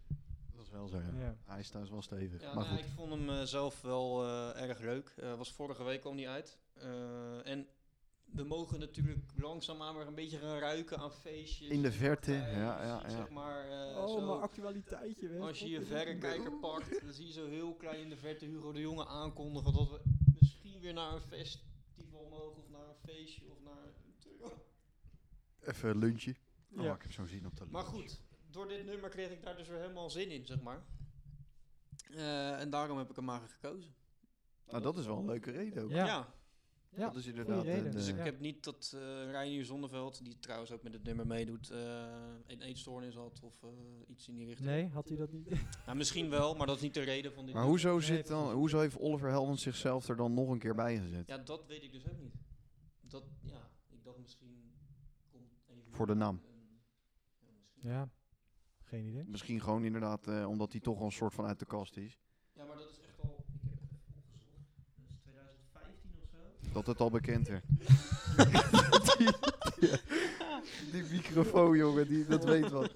Dat is wel zo, ja. Ja. Hij is trouwens wel stevig. Ja, maar nou, goed. ik vond hem eh, zelf wel eh, erg leuk. Eh, was vorige week al niet uit. Eh, en we mogen natuurlijk langzaamaan weer een beetje gaan ruiken aan feestjes. In de verte, partijen, ja, je ja, ziet, ja. Zeg maar, eh, oh, zo, maar actualiteitje. Weet als je God, je dit is een- verrekijker pakt, dan zie je zo heel klein in de verte Hugo de Jonge aankondigen dat we misschien weer naar een festival mogen of naar een feestje of naar een... Even een lunchje. Oh, Ja. ik heb zo'n zin op de lunch. Maar goed, door dit nummer kreeg ik daar dus weer helemaal zin in, zeg maar. Eh, en daarom heb ik hem maar gekozen. Nou, dat is wel een leuke reden ook. Ja. Ja, Dat is inderdaad goeie reden. een, Dus eh, Ik Ja. heb niet dat eh Reinier Zonneveld, die trouwens ook met het nummer meedoet, eh een eetstoornis had of eh, iets in die richting. Nee, had hij dat niet? Nou, misschien wel, maar dat is niet de reden van dit Maar nummer. hoezo, Nee, zit dan, precies. hoezo heeft Oliver Helmond zichzelf er dan nog een keer bij gezet? Ja, dat weet ik dus ook niet. Dat, ja, ik dacht misschien... Komt even Voor de naam. een- ja, misschien. ja, geen idee. Misschien gewoon inderdaad eh, omdat hij toch al een soort van uit de kast is. Ja, maar dat is echt al... Ik heb het even opgezocht. Dat is 2015 of zo. Dat het al bekend werd. die, die- die microfoon, jongen, die, dat weet wat.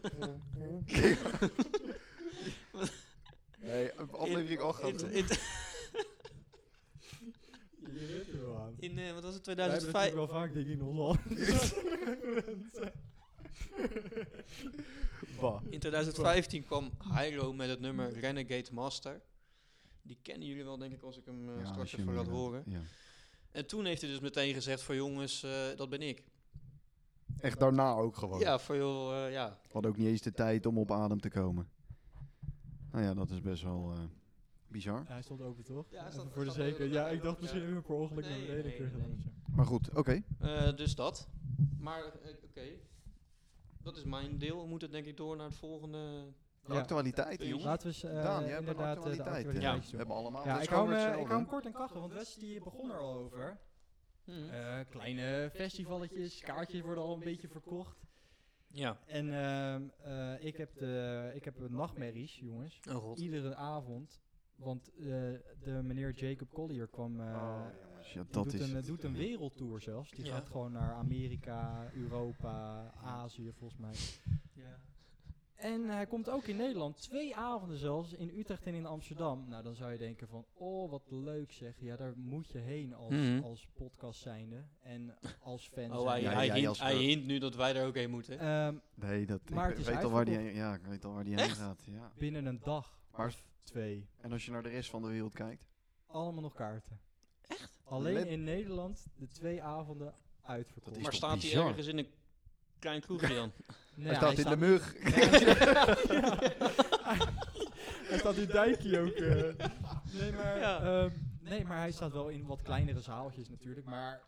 nee, aflevering 8 gaat In, het. in, Je weet er wel aan. in, eh, wat was het, Wij hebben 2005? natuurlijk wel vaak denk ik in ons land. Bah. In 2015 kwam Hyro met het nummer Renegade Master. Die kennen jullie wel, denk ik, als ik hem eh, Ja, straks als je even hem laat inderdaad- horen. ja. En toen heeft hij dus meteen gezegd van jongens, eh, dat ben ik. Echt daarna ook gewoon. Ja, voor joh, eh, ja. We hadden ook niet eens de tijd om op adem te komen. Nou ja, dat is best wel eh, bizar. Hij stond open, toch? Ja, hij stond- Even voor de stond zeker. open, Ja, ja. ik dacht misschien hebben we per ongeluk naar Nee, beneden nee, kunnen nee. gaan of zo. Maar goed, oké. Eh, dus dat. Maar eh, oké, dat is mijn deel. We moeten denk ik door naar het volgende. De Ja. actualiteit, Daan, jongens. Laten we eens, eh, Daan, jij hebt een inderdaad eh, de actualiteit. hè? actualiteitjes we doen. hebben allemaal. Ja, dat ik is gewoon hou, weer hem, eh, ik hou hem hetzelfde. kort en krachtig, want Wes die begon er al over. Hm. Eh, kleine festivalletjes, kaartjes worden al een beetje verkocht. Ja. En ehm, eh, ik heb, de, ik heb nachtmerries, jongens. Oh god. Iedere avond. Want eh, de meneer Jacob Collier kwam... eh, ja, die dat doet, is een, het. doet een wereldtour zelfs. Die Oh, Ja. gaat gewoon naar Amerika, Europa, Azië volgens mij. En hij komt ook in Nederland, twee avonden zelfs, in Utrecht en in Amsterdam. Nou, dan zou je denken van, oh, wat leuk zeg. Ja, daar moet je heen als, Mhm. als podcast zijnde en als fan Oh, hij, zijnde. Ja, hij, ja, eh, hint, Jasper. hij hint nu dat wij er ook heen moeten. Ehm, Nee, dat, Maar ik het is weet al waar die heen, ja, ik weet al waar die heen Echt? gaat. Ja. binnen een dag Maar- of twee. En als je naar de rest van de wereld kijkt. Allemaal nog kaarten. Echt? Alleen Let- in Nederland de twee avonden uitverkocht. is maar toch staat hij bizar? ergens in een klein kroegje dan. Nee, Hij staat in de mug. Hij staat in Dijkje ook. eh. Nee, maar, Ja. ehm, nee, maar hij staat wel in wat kleinere zaaltjes natuurlijk. Maar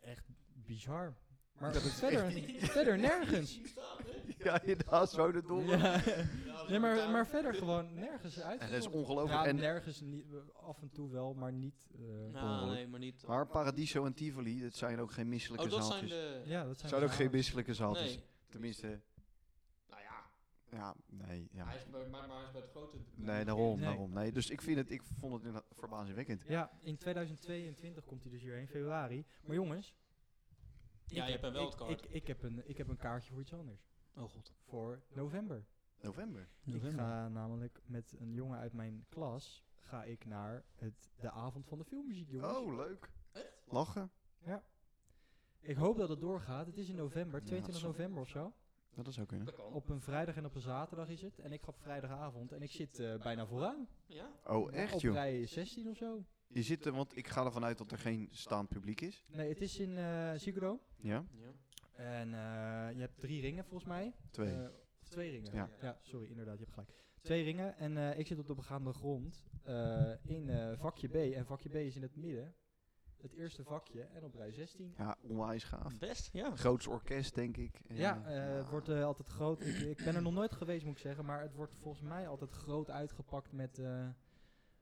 echt bizar. Maar verder, verder nergens. ja, inderdaad, zo de dom. Ja. Nee, maar, maar verder gewoon nergens uit. En dat is ongelooflijk. Ja, en nergens, niet, af en toe wel, maar niet... eh, Nou, nee, maar niet. Maar Paradiso en Tivoli, dat zijn ook geen misselijke oh, dat zijn zaaltjes. de... ja, dat zijn, zijn ook de geen zaaltjes. misselijke zaaltjes. Nee. Tenminste, Nou ja, ja, nee, ja. hij is bij, maar, maar hij is bij het grote... Nee, daarom, Nee. daarom. Nee, dus ik vind het, ik vond het inderdaad verbazingwekkend. Ja, in 2022 komt hij dus hierheen, februari. Maar jongens... Ja, ik je heb- hebt een ik- wildcard. Ik, ik, heb een, ik heb een kaartje voor iets anders. Oh god. Voor november. November. Ik ga namelijk met een jongen uit mijn klas ga ik naar het, de avond van de filmmuziek, jongens. Oh, leuk. Lachen. Ik hoop dat het doorgaat. Het is in november, Ja, 22 dat is- november of zo. Ja, dat zou kunnen. Dat kan. Op een vrijdag en op een zaterdag is het. En ik ga op vrijdagavond en ik zit eh, bijna vooraan. Ja? Oh, echt Nou, Op joh. rij 16 of zo. Je zit er, want ik ga ervan uit dat er geen staand publiek is. Nee, het is in eh Ziggo Dome. Ja, Ja. En eh, je hebt drie ringen volgens mij. twee. Eh, of twee ringen. Ja. sorry, inderdaad, je hebt gelijk. Twee ringen en eh, ik zit op de begaande grond eh, in eh, vakje B. En vakje B is in het midden. Het eerste vakje en op rij 16. ja, onwijs gaaf. Best, ja. Groots orkest, denk ik. En, Ja, eh, eh, het wordt eh, altijd groot. Ik, ik ben er nog nooit geweest, moet ik zeggen. Maar het wordt volgens mij altijd groot uitgepakt met, eh,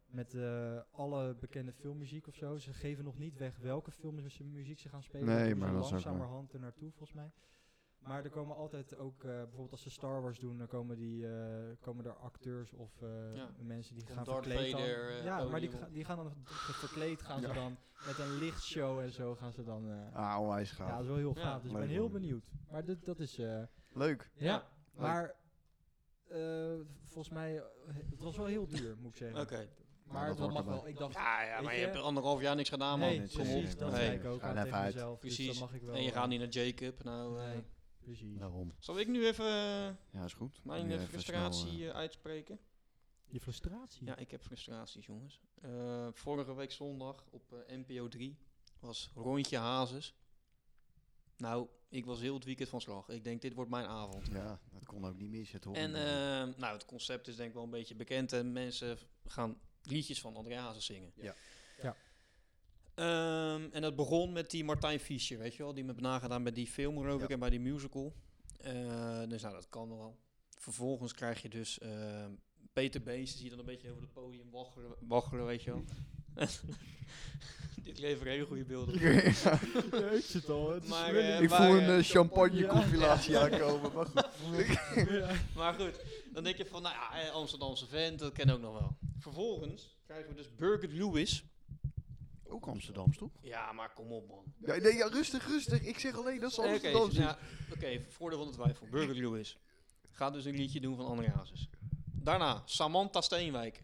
met eh, alle bekende filmmuziek of zo. Ze geven nog niet weg welke filmmuziek ze gaan spelen. Nee, doen ze maar dat is ook waar. langzamerhand er naartoe, volgens mij. Maar er komen altijd ook, eh, bijvoorbeeld als ze Star Wars doen, dan komen, die, eh, komen er acteurs of eh, Ja. mensen die Komt gaan Darth verkleed dan. Vader, eh, ja, maar die, podium ga- op. die gaan dan verkleed gaan Ja. ze dan met een lichtshow en zo gaan ze dan... eh, Ah, onwijs ja, dat gaaf. is wel heel Ja. gaaf. dus ik Leuk, ben heel man. benieuwd. Maar dit- dat is... eh, Leuk. ja, Ja. maar eh, volgens mij, eh, het was wel heel duur, moet ik zeggen. Oké. Maar dat dat, hoort mag erbij. wel. Ik dacht, Ja, ja, Weet maar je je? hebt er anderhalf jaar niks gedaan, man. nee, dit is precies, onzin. dat Nee. zei ik ook Ga aan even tegen uit. mezelf. Dus Precies. dat mag ik wel. En je eh, gaat niet naar Jacob, nou... eh, Nee, precies. Daarom. Zal ik nu even eh, Ja, is goed. mijn Nu eh, even frustratie snel, eh, eh, uitspreken? Je frustratie. Ja, ik heb frustraties, jongens. Eh, vorige week zondag op eh, NPO 3 was Rondje Hazes. Nou, ik was heel het weekend van slag. Ik denk, dit wordt mijn avond. eh, ja, dat kon ook niet missen, toch? eh. En eh, nou, het concept is denk ik wel een beetje bekend. En mensen gaan liedjes van André Hazes zingen. Ja. Ja. Ehm, en dat begon met die Martijn Fischer, weet je wel. Die me heeft nagedaan bij die film, geloof ik, Ja. en bij die musical. Eh, dus nou, dat kan wel. Vervolgens krijg je dus ehm, Peter Bees, die dan een beetje over het podium waggelen, waggelen weet je wel. Dit levert hele goede beelden op. ik zit al. Het Maar, eh, ik waar, voel een eh, eh, champagne-compilatie aankomen. Maar goed. Maar goed, dan denk je van, nou ja, eh, Amsterdamse vent, dat ken ik ook nog wel. Vervolgens krijgen we dus Burger Lewis. Ook Amsterdams, toch? Ja, maar kom op man. Ja, nee, ja, rustig, rustig. Ik zeg alleen dat ze Oké, Amsterdams is. ja, oké, voordeel van de twijfel. Burger Lewis. Gaat dus een liedje doen van André Hazes. Daarna, Samantha Steenwijk.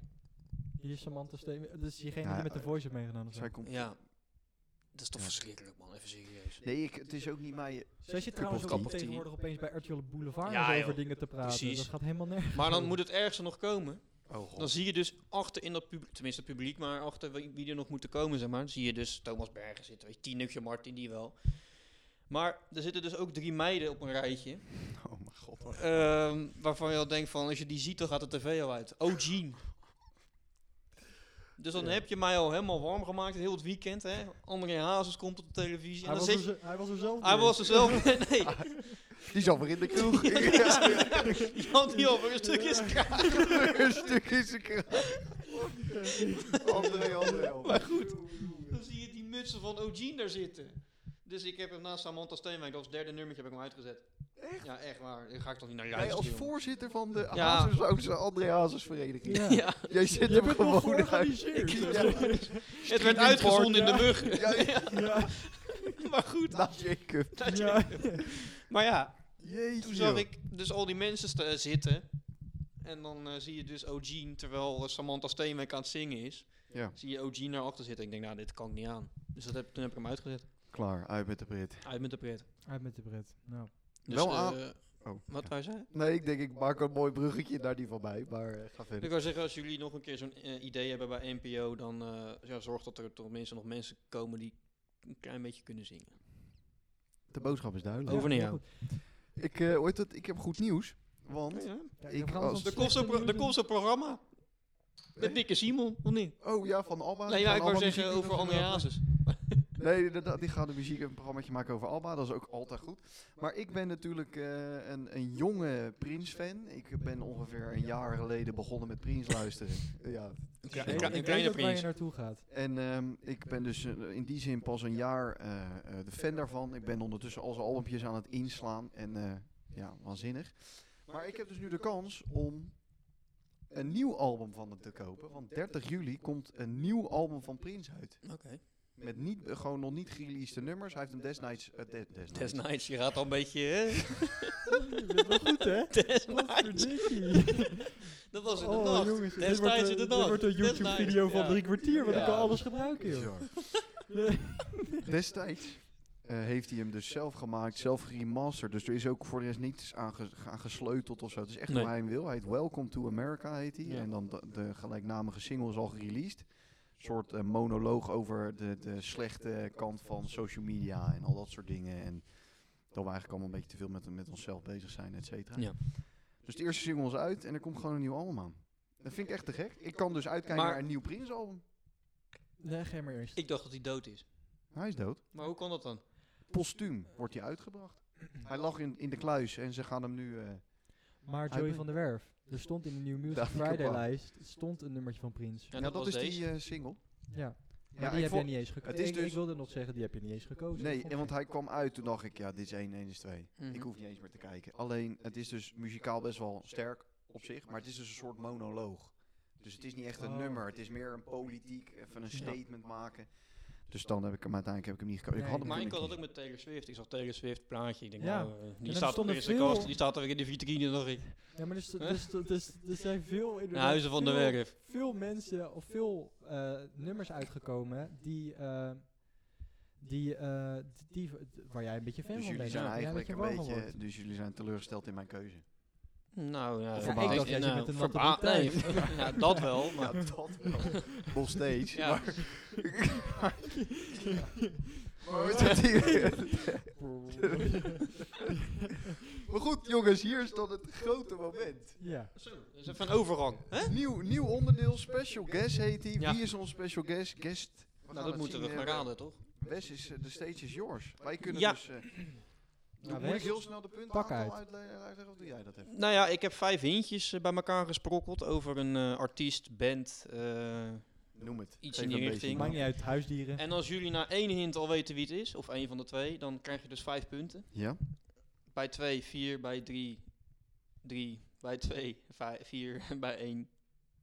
Hier is Samantha dus Steen. Dat is diegene Ja, die met de eh, voice heeft meegedaan. of zo. Zij komt... Ja. Dat is toch Ja. verschrikkelijk man, even serieus. Nee, ik, het is ook niet mij. Zij zit Cup trouwens of ook tea. tegenwoordig opeens bij RTL Boulevard Ja, en zo joh. over dingen te praten. Precies. Dat gaat helemaal nergens. Maar dan moet het ergste nog komen. Oh god. Dan zie je dus achter in dat publiek, tenminste het publiek, maar achter wie wie er nog moeten komen, zeg maar. Dan zie je dus Thomas Bergen zitten, weet je, Tineke Martin, die wel. Maar er zitten dus ook drie meiden op een rijtje. Oh mijn god. Ehm, waarvan je al denkt van, als je die ziet, dan gaat de tv al uit. Oh, Jean. Dus dan Ja. heb je mij al helemaal warm gemaakt, heel het weekend. Hè? André Hazes komt op de televisie. En Hij dan was, zit er, je, ze- hij was er zelf hij weer. was er zelf. Nee, Die is alweer in de kroeg. je had niet over een stukje straat. Een stuk is een kraag. André, André, André. Maar goed, dan zie je die mutsen van Oh, Jean daar zitten. Dus ik heb hem naast Samantha Steenwijk, dat was het derde nummertje, heb ik hem uitgezet. Echt? Ja, echt waar. Dan ga ik toch niet naar Jij luisteren. als jongen. voorzitter van de Ja. Hazershoutse André Hazersvereniging. Ja. Ja, Jij zit Je hem bent wel gewoon uit. georganiseerd. Ja. het werd uitgezonden in de mug. Ja, ja. Ja. Maar goed. Naast Jacob. dat je- Ja. Maar ja, Jeetje. Toen zag joh. ik dus al die mensen sta- eh, zitten. En dan eh, zie je dus O'Gene, terwijl eh, Samantha Steenwijk aan het zingen is, Ja, zie je O'Gene daarachter zitten. Ik denk, nou, dit kan ik niet aan. Dus dat heb, toen heb ik hem uitgezet. klaar. Uit met de Brit. Uit met de pret. Uit met de Brit. Nou. Dus, Wel eh, aan- Oh. Wat wij zei? Nee, ik denk ik maak een mooi bruggetje naar die van mij. Maar eh, ga Ik verder. wou zeggen, als jullie nog een keer zo'n eh, idee hebben bij NPO, dan eh, ja, zorg dat er toch minstens nog mensen komen die een klein beetje kunnen zingen. De boodschap is duidelijk. Over naar jou. heel goed. Ik, eh, hoe heet het? ik heb goed nieuws. Want Ja, Ik Bram, als- soms Er komt Er slechte komt zo'n pro- er nieuws. komt zo'n programma. Met Dikke Simon, of niet? Oh ja, van Alba. Nee, Van ja, ik wou Alba zeggen muziek- over André Hazes. Nee, inderdaad, die gaat de muziek een programmaatje maken over Alba. Dat is ook altijd goed. Maar ik ben natuurlijk eh, een, een jonge Prins-fan. Ik ben ongeveer een jaar geleden begonnen met Prins luisteren. ja. Een, Ik- kle- een ik weet kleine ook waar je prins. naartoe gaat. En ehm, ik ben dus eh, in die zin pas een jaar eh, eh, de fan daarvan. Ik ben ondertussen al zijn albumpjes aan het inslaan. En eh, ja, waanzinnig. Maar ik heb dus nu de kans om een nieuw album van hem te kopen. Want 30 juli komt een nieuw album van Prins uit. Oké. Met niet, eh, gewoon nog niet gereleased nummers. Hij heeft hem destijds... eh, de- desnijds. Tess Nights, je gaat al een beetje... hè? Je bent wel goed, hè? Tess Nights. Godverdikkie. Dat was in de Oh, nacht. jongens, dit Tess wordt, een- Nights in de dit nacht. wordt een Tess YouTube-video Nights, van ja. drie kwartier, want ik Ja. kan alles gebruiken, joh. Bizar. Destijds eh, heeft hij hem dus zelf gemaakt, zelf geremasterd. Dus er is ook voor de rest niets aan, ge- aan gesleuteld of zo. Het is echt Nee. hoe hij hem wil. Hij heet Welcome to America, heet hij. Ja. En dan de, de gelijknamige single is al gereleased. Een soort eh, monoloog over de, de slechte kant van social media en al dat soort dingen. En dat we eigenlijk allemaal een beetje te veel met, met onszelf bezig zijn, et cetera. Ja. Dus de eerste single is uit en er komt gewoon een nieuw album aan. Dat vind ik echt te gek. Ik kan dus uitkijken Maar- naar een nieuw Prins album. Nee, geen maar eerst. Ik dacht dat hij dood is. Hij is dood. Maar hoe kan dat dan? postuum wordt hij uitgebracht. Hij lag in, in de kluis en ze gaan hem nu... eh, Maar Hij Joey be- van der Werf, er stond in de New Music Daar vind ik op Friday aan. lijst stond een nummertje van Prins. Ja, ja, dat was is deze. die eh, single. Ja, maar Ja, die ik heb vo- je niet eens gekozen. het is ik, ik dus- wilde nog zeggen, die heb je niet eens gekozen. Nee, Dat en want vond hij kwam uit, toen dacht ik, ja, dit is 1, 1 is 2. Mhm. Ik hoef niet eens meer te kijken. Alleen, het is dus muzikaal best wel sterk op zich, maar het is dus een soort monoloog. Dus het is niet echt een Oh. nummer, het is meer een politiek, even een Ja. statement maken. Dus dan heb ik hem uiteindelijk heb ik hem niet gekozen. Nee, ik had hem Maar ik kunnen had dat ook kiezen. met Taylor Swift. Ik zag Taylor Swift plaatje. Ik denk, Ja. nou, eh, die dan staat er stonden weer in de veel- kast. Die staat er weer in de vitrine. Dacht ik. ik. Ja, maar dus, Huh? dus, dus, dus, er zijn veel... De inderdaad huizen van de veel- werf. Veel mensen, of veel eh, nummers uitgekomen die... eh, die, eh, die, waar jij een beetje fan van Dus jullie bent. zijn waar jij eigenlijk een warm van wordt. beetje, dus jullie zijn teleurgesteld in mijn keuze. Nou ja, Of verbaasd. ik Ik dacht dat je nou, met een natte verba- broek nee, ja, dat wel. Ja, Maar dat wel. Nog steeds. Ja. Maar, maar we zitten hier. Maar goed, jongens, hier is dan het grote moment. Ja. dat is dus even een overgang. Hè? Nieuw, nieuw onderdeel, special guest heet hij. Ja. Wie is onze special guest? Guest. We gaan Nou, het dat moeten we zien, gaan eh, raden, toch? Wes is, eh, de stage is yours. Wij kunnen Ja. dus... eh, Nou, moet ik Wes, heel snel de punten pak uit. eh, uitleggen of doe jij dat even? Nou ja, ik heb vijf hintjes eh, bij elkaar gesprokkeld over een eh, artiest, band. eh, Noem het. Iets Geef in die een richting. beetje. Maakt niet uit, huisdieren. en als jullie na één hint al weten wie het is, of één van de twee, dan krijg je dus vijf punten. Ja? Bij twee, vier, bij drie, drie, bij twee, vijf, vier, en bij één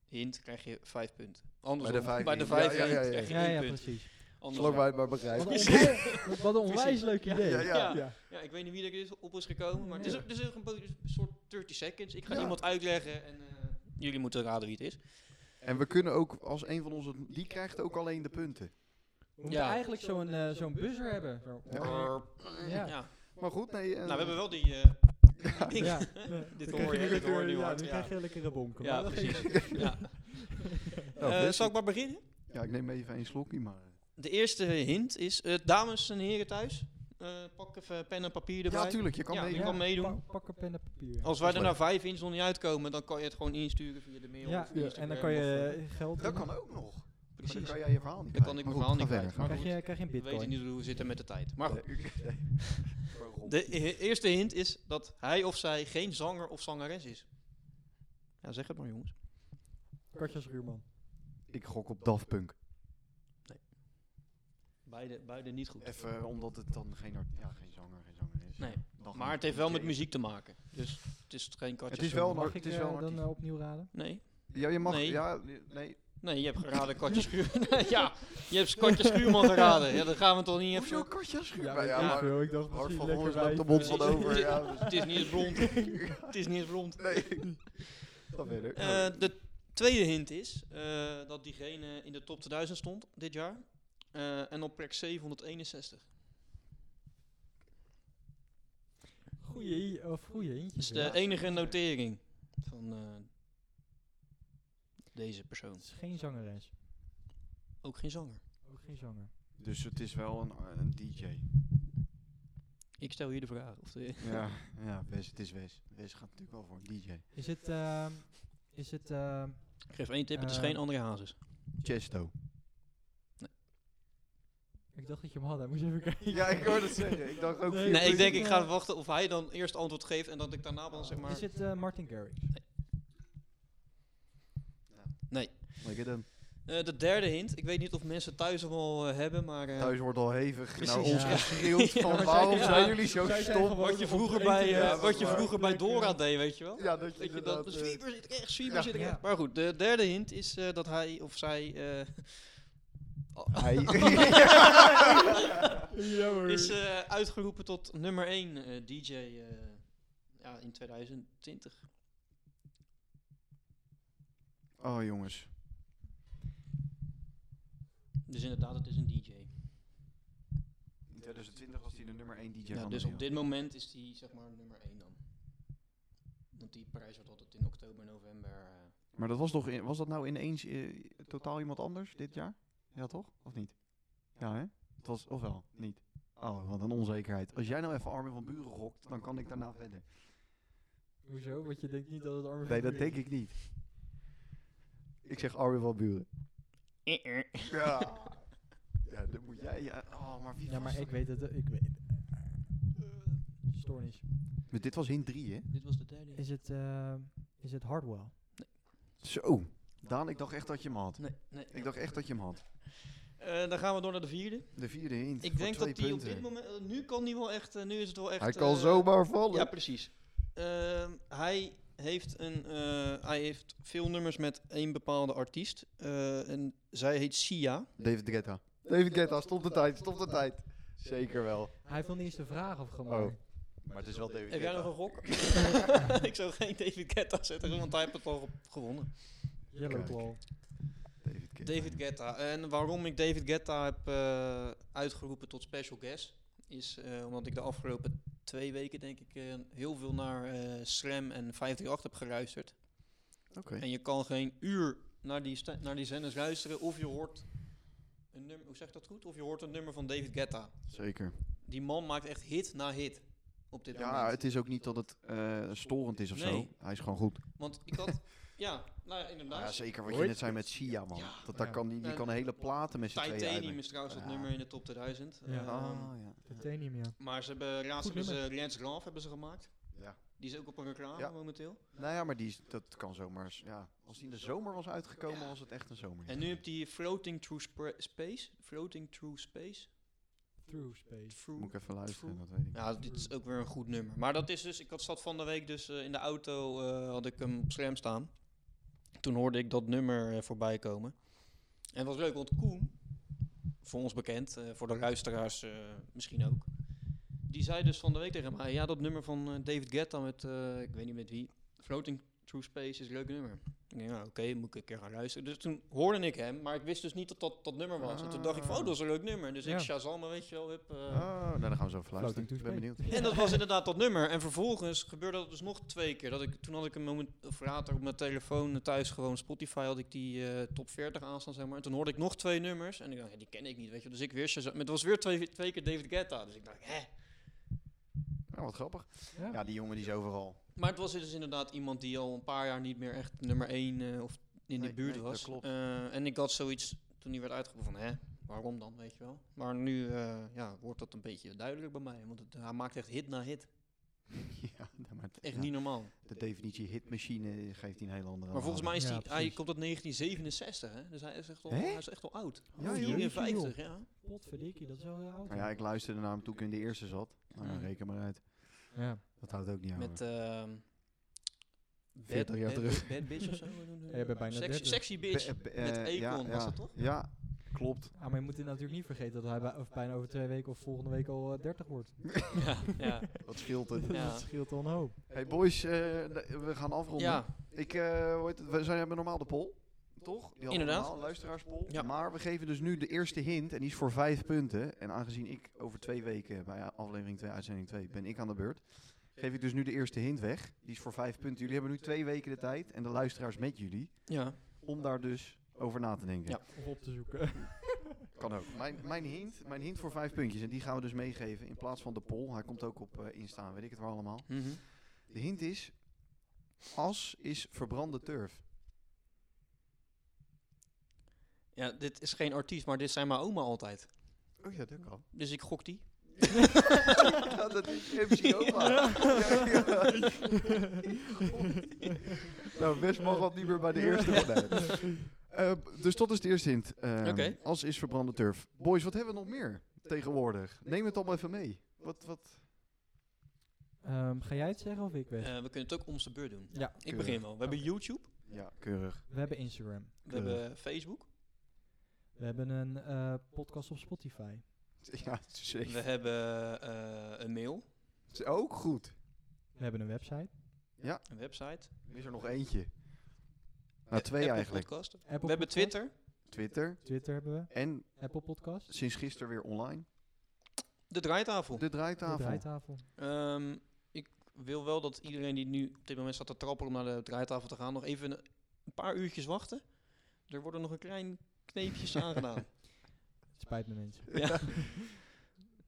hint krijg je vijf punten. Andersom, Bij de vijf bij de hint. vijf Ja, ja, ja, hint ja. krijg je Ja, één ja, punt. precies. Andersom. wij maar Wat begrijpen. een, onwijs, wat een onwijs Precies. leuk idee. Ja, ja. ja. Ja, ik weet niet wie er is, op is gekomen, maar Ja. het is, het is een bo- een soort 30 seconds. Ik ga Ja. iemand uitleggen en eh, jullie moeten raden wie het is. En we kunnen ook, als een van ons... het- Die krijgt ook alleen de punten. We moeten Ja. eigenlijk zo'n eh, zo'n buzzer hebben. Zo. Ja. Ja. Ja. Maar goed, nee... eh, Nou, we hebben wel die... eh, ding. Ja. Dit Dan krijg hoor je, dit lekker- hoor je nu ja, hard, dan ja. krijg je lekkere bonken. Ja, Maar dat precies. geeft- ja. Nou, Eh, Wes, zal ik maar beginnen? Ja, ik neem even een slokje, maar... eh. De eerste hint is, eh, dames en heren thuis, eh, pak even pen en papier erbij. Ja, tuurlijk, je kan Ja, mee. je kan meedoen. pa- pak een pen en papier. Als wij Dat er is nou vijf in nog niet uitkomen, dan kan je het gewoon insturen via de mail. Ja, of via en dan Instagram kan of, eh, je geld. Dat in. kan ook nog. Maar Dan precies. kan jij je verhaal niet Dan kan ik kwijt. Maar mijn verhaal goed, niet ga kwijt. verder, Maar Krijg goed, je, krijg je een we weten bitcoin. niet hoe we zitten met de tijd. Maar ga goed, verder. Nee. de e- eerste hint is dat hij of zij geen zanger of zangeres is. Ja, zeg het maar jongens. Kartjes Ruurman. Ik gok op Daft Punk. Beide, beide niet goed. Even eh, omdat het dan geen, art- ja, geen zanger, geen zanger is. Nee, Ja, dan gaan Maar we het heeft wel met kijken. muziek te maken. Dus het is geen katjes. Het is wel een Mag art- ik het is eh, wel een dan eh, artiest. opnieuw raden? Nee. Ja, je mag... Nee. Ja, nee. Nee, je hebt geraden Katje Schuurman. ja, je hebt Katje Schuurman geraden. Ja, dan gaan we toch niet Hoezo even... katjes? weet ik maar veel, ik dacht Hart misschien van lekker Hoorns loopt de wijf. mond van Precies. over. Ja, dus- Het is niet eens blond. Het is niet eens blond. nee. Ga verder. Eh, de tweede hint is eh, dat diegene in de top 2000 stond dit jaar. Eh, en op plek 761. Goeie, i- of goeie Dus Dat is eentjes. Dus de ja. enige notering van eh, deze persoon. Het is geen zangeres. Ook geen zanger. Ook geen zanger. Dus het is wel een, een DJ. Ik stel hier de vraag. Of de Ja, ja Wes, het is Wes. Wes gaat natuurlijk wel voor een DJ. Is het... ehm, is het ehm, Ik geef één tip, het is Eh, geen André Hazes. Chesto. ik dacht dat je hem had, hè. moet je even kijken. Ja, ik hoorde het zeggen. Ik dacht ook... Nee, vier is Nee, ik het, denk ik ga eh, wachten of hij dan eerst antwoord geeft en dat ik daarna dan zeg maar... Is het eh, Martin Garrix? punten. Look at them. Eh, de derde hint, ik weet niet of mensen thuis hem al eh, hebben, maar... eh, Thuis wordt al hevig naar Precies, ons ja. geschreeuwd Ja, van maar zij- waarom ja, zijn jullie zo zij zijn stom? gewoon- Wat je op vroeger het bij, eh, internet, wat je maar- vroeger bij Lekker. Dora deed, weet je wel? Ja, dat Dat je inderdaad, dat, eh, sweeper zit rechts, sweeper ja. zit rechts. Ja. Maar goed, de derde hint is eh, dat hij of zij eh, Hij... is eh, uitgeroepen tot nummer 1 DJ eh, ja, in 2020. Oh jongens. Dus inderdaad, het is een DJ. In 2020 was hij de nummer 1 DJ Ja, van dus de op dit moment is die zeg maar nummer 1 dan. Want die prijs wordt altijd in oktober, november. eh, Maar dat was toch in, was dat nou ineens eh, totaal iemand anders dit jaar? Ja toch? Of niet? Ja hè? Het was ofwel niet. Oh, wat een onzekerheid. Als jij nou even Armin van Buren gokt, dan kan ik daarna verder. Hoezo? Want je denkt niet dat het Armin Nee, van dat Buuren denk ik niet. Ik zeg Armin van Buren. eh, eh. Ja. Ja, dan moet jij. Ja, oh, maar is. wie Ja, was maar dat? ik weet het. eh, Ik weet het. Stoornis. Maar dit was hint 3, hè? Dit was de derde. hint. Is het, ehm, is het Hardwell? Zo. Daan, ik dacht echt dat je hem had. Nee, nee. Ik dacht echt dat je hem had. Eh, dan gaan we door naar de vierde. De vierde hint. Ik voor denk twee dat die op punten. dit moment. eh, nu kan die wel echt. eh, nu is het wel echt. Hij kan eh, zomaar vallen. Ja, precies. Ehm, hij, heeft een, eh, hij heeft veel nummers met één bepaalde artiest. eh, en zij heet Sia. David Guetta. David Guetta, stop de tijd, stop de tijd. Zeker wel. Hij heeft nog niet eens de vraag Oh. afgemaakt. Maar het is wel David Heb jij nog een gok? ik zou geen David Guetta zetten, want hij heeft het al ge- gewonnen. Yellow Kijk. Claw. David Guetta. David Guetta. En waarom ik David Guetta heb eh, uitgeroepen tot special guest... is eh, omdat ik de afgelopen twee weken, denk ik, eh, heel veel naar eh Slam en 538 heb geluisterd. Oké. En je kan geen uur naar die, sta- naar die zenders luisteren of je hoort een nummer, hoe zeg ik dat goed? Of je hoort een nummer van David Guetta. Zeker. Die man maakt echt hit na hit op dit Ja, moment. het is ook niet dat het eh, storend is of Nee. zo. Hij is gewoon goed. Want ik had, ja, nou ja, inderdaad. Ja, zeker wat je Hoi. net zei met Sia, man. Ja. Dat, daar Ja. kan, die, die En- kan hele platen met z'n tweeën Titanium eigenlijk. is trouwens dat Ja. nummer in de top 2000. Ja. Ehm, Ah, ja. Titanium, ja. maar ze hebben laatst Goed hebben ze Let's Love hebben ze gemaakt. Ja. Die is ook op een reclame Ja. momenteel. Nou ja, maar die, is- dat kan zomaar. s- Ja. Als die in de zomer was uitgekomen, was het echt een zomer. En nu heb die Floating Through Spra- Space. Floating Through Space. Through Space. Through Moet ik even luisteren, dat weet ik. Ja, dit is ook weer een goed nummer. Maar dat is dus, ik had zat van de week dus eh, in de auto, eh, had ik hem op scherm staan. Toen hoorde ik dat nummer eh, voorbij komen. En het was leuk, want Koen, voor ons bekend, eh, voor de luisteraars eh, misschien ook. Die zei dus van de week tegen mij, ja dat nummer van eh, David Guetta met, eh, ik weet niet met wie, Floating Through Space is een leuk nummer. Ik denk, ja oké, moet ik een keer gaan luisteren. Dus toen hoorde ik hem, maar ik wist dus niet dat dat dat nummer was. En toen dacht ik van, oh dat is een leuk nummer. Dus Ja. ik Shazam, weet je wel, heb... eh, Oh, nou, dan gaan we zo even luisteren. Floating Ik ben benieuwd. en dat was inderdaad dat nummer. En vervolgens gebeurde dat dus nog twee keer. Dat ik, toen had ik een moment of later op mijn telefoon eh, thuis gewoon Spotify had ik die eh, top 40 aanstaan, zeg maar. En toen hoorde ik nog twee nummers. En ik dacht, ja, die ken ik niet, weet je. Dus ik weer Shazam. Maar het was weer twee, twee keer David Guetta. Dus ik dacht, hè. Nou, wat grappig. Ja. Ja, die jongen die is overal. Maar het was dus inderdaad iemand die al een paar jaar niet meer echt nummer 1 of Nee, in die buurt nee, dat was. klopt. Eh, en ik had zoiets toen die werd uitgeroepen van, hè, waarom dan, weet je wel. Maar nu eh, ja, wordt dat een beetje duidelijk bij mij. Want het, hij maakt echt hit na hit. ja, nou, maar het- Echt ja, niet normaal. De definitie hitmachine geeft hij een heel andere. Maar volgens mij is Ja, die, hij precies. komt uit 1967, hè? Dus hij is echt al, Hè? hij is echt al oud. Ja, joh. 54, ja. Potverdikkie, dat is wel heel oud. Nou ja, ik luisterde naar hem toen ik in de eerste zat. Nou, ja, Mm. reken maar uit. Ja. Dat houdt ook niet aan. Met ehm 40 jaar terug. Bad bitch of zo. Ja, je bent bijna sexy, 30. sexy bitch. eh, met Akon, eh, ja, was ja. dat toch? Ja, klopt. Ah, maar je moet het natuurlijk niet vergeten dat hij bij- of bijna over twee weken of volgende week al eh, 30 wordt. ja, ja. Wat scheelt het. Ja. dat scheelt al een hoop. Hey boys, eh, de- we gaan afronden. ja, Ik, eh, hoe heet het, we zijn, hebben normaal de poll, toch? Die hadden we Inderdaad. normaal, een luisteraarspol. Ja. Maar we geven dus nu de eerste hint en die is voor vijf punten. En aangezien ik over twee weken bij aflevering 2, uitzending 2, ben ik aan de beurt. Geef ik dus nu de eerste hint weg. Die is voor vijf punten. Jullie hebben nu twee weken de tijd en de luisteraars met jullie. ja. Om daar dus over na te denken. Ja. Of op te zoeken. Kan ook. Mijn, mijn, hint, mijn hint voor vijf puntjes, en die gaan we dus meegeven in plaats van de poll. Hij komt ook op eh, Insta, en weet ik het waar allemaal. Mhm. De hint is, as is verbrande turf. Ja, dit is geen artiest, maar dit zijn mijn oma altijd. Oh ja, dat kan. Dus ik gok die. ja, dat is MC Oma. Ja, ja. Eh, nou, Wes mag wat niet meer bij de eerste worden. Eh, dus dat is de eerste hint. Ehm, Oké. As is verbrande turf. Boys, wat hebben we nog meer tegenwoordig? Neem het allemaal even mee. Wat, wat? Ehm, ga jij het zeggen of ik weg? Eh, we kunnen het ook om zijn beurt doen. ja, Ik begin wel. We hebben YouTube, Ja, keurig. we hebben Instagram. we hebben Facebook, We hebben een eh, podcast op Spotify. Ja, we zeker. hebben eh, een mail, Het is ook goed. We hebben een website. een website. Er is er nog eentje. eh, Nou, twee Apple eigenlijk. Podcast. Apple We hebben Podcast. Twitter. Twitter Twitter hebben we. en Apple Podcast. sinds gisteren weer online. De draaitafel. De De draaitafel. draaitafel. Ehm, ik wil wel dat iedereen die nu op dit moment staat te trappelen om naar de draaitafel te gaan, nog even een, een paar uurtjes wachten. Er worden nog een klein kneepje aangedaan. Spijt me mensen. ja.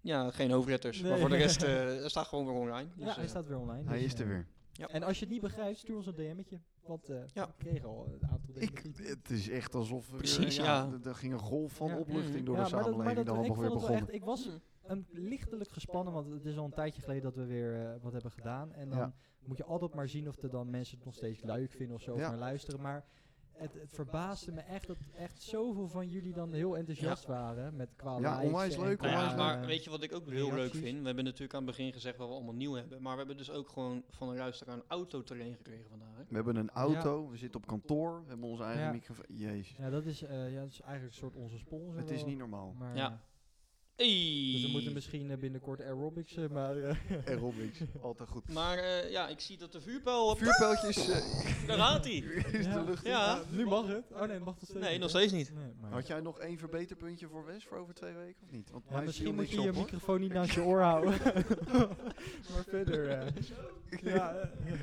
ja, geen hoofdletters. Maar Nee. voor de rest eh, het staat gewoon weer online. Dus, ja, hij eh, staat weer online. Hij dus, is er eh, weer. En als je het niet begrijpt, stuur ons een DM'tje. Want eh Ja. we kregen al een aantal dingen. Ik, het is echt alsof er, Precies, eh, ja. d- Er ging een golf van Ja. opluchting Mhm. door de samenleving. daar ik allemaal weer vond het wel begonnen. echt, ik Hmm. was een lichtelijk gespannen, want het is al een tijdje geleden dat we weer eh, wat hebben gedaan. En dan Ja. moet je altijd maar zien of er dan mensen het nog steeds leuk vinden of zo, Ja. of naar luisteren. Maar het, het verbaasde me echt dat echt zoveel van jullie dan heel enthousiast waren met qua Ja, likes onwijs en leuk, qua, Nou ja, onwijs eh, maar weet je wat ik ook heel leuk reacties. vind? We hebben natuurlijk aan het begin gezegd wat we allemaal nieuw hebben. Maar we hebben dus ook gewoon van een luisteraar een autoterrein gekregen vandaag. Hè? We hebben een auto, we zitten op kantoor, we hebben onze eigen Ja. microfoon. Jezus, Ja, dat is, eh, ja, dat is eigenlijk een soort onze sponsor. het is wel, niet normaal. Maar, Ja. eh, Hey! Dus we moeten misschien eh, binnenkort aerobics, eh, maar... eh, Aerobics, altijd goed. Maar eh, ja, ik zie dat de vuurpijl... Vuurpijltjes eh, Daar gaat hij! is Ja. de lucht. in. Ja. nu mag het. Oh nee, het mag nog steeds Nee, niet, nog hè? steeds niet. Nee, maar- Had jij nog één verbeterpuntje voor Wes voor over twee weken of niet? Want Ja, mij viel misschien moet niks je je op, hoor. microfoon niet naast je oor houden. maar verder. eh, ja, eh,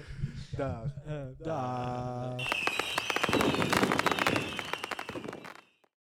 Daar. eh, daar.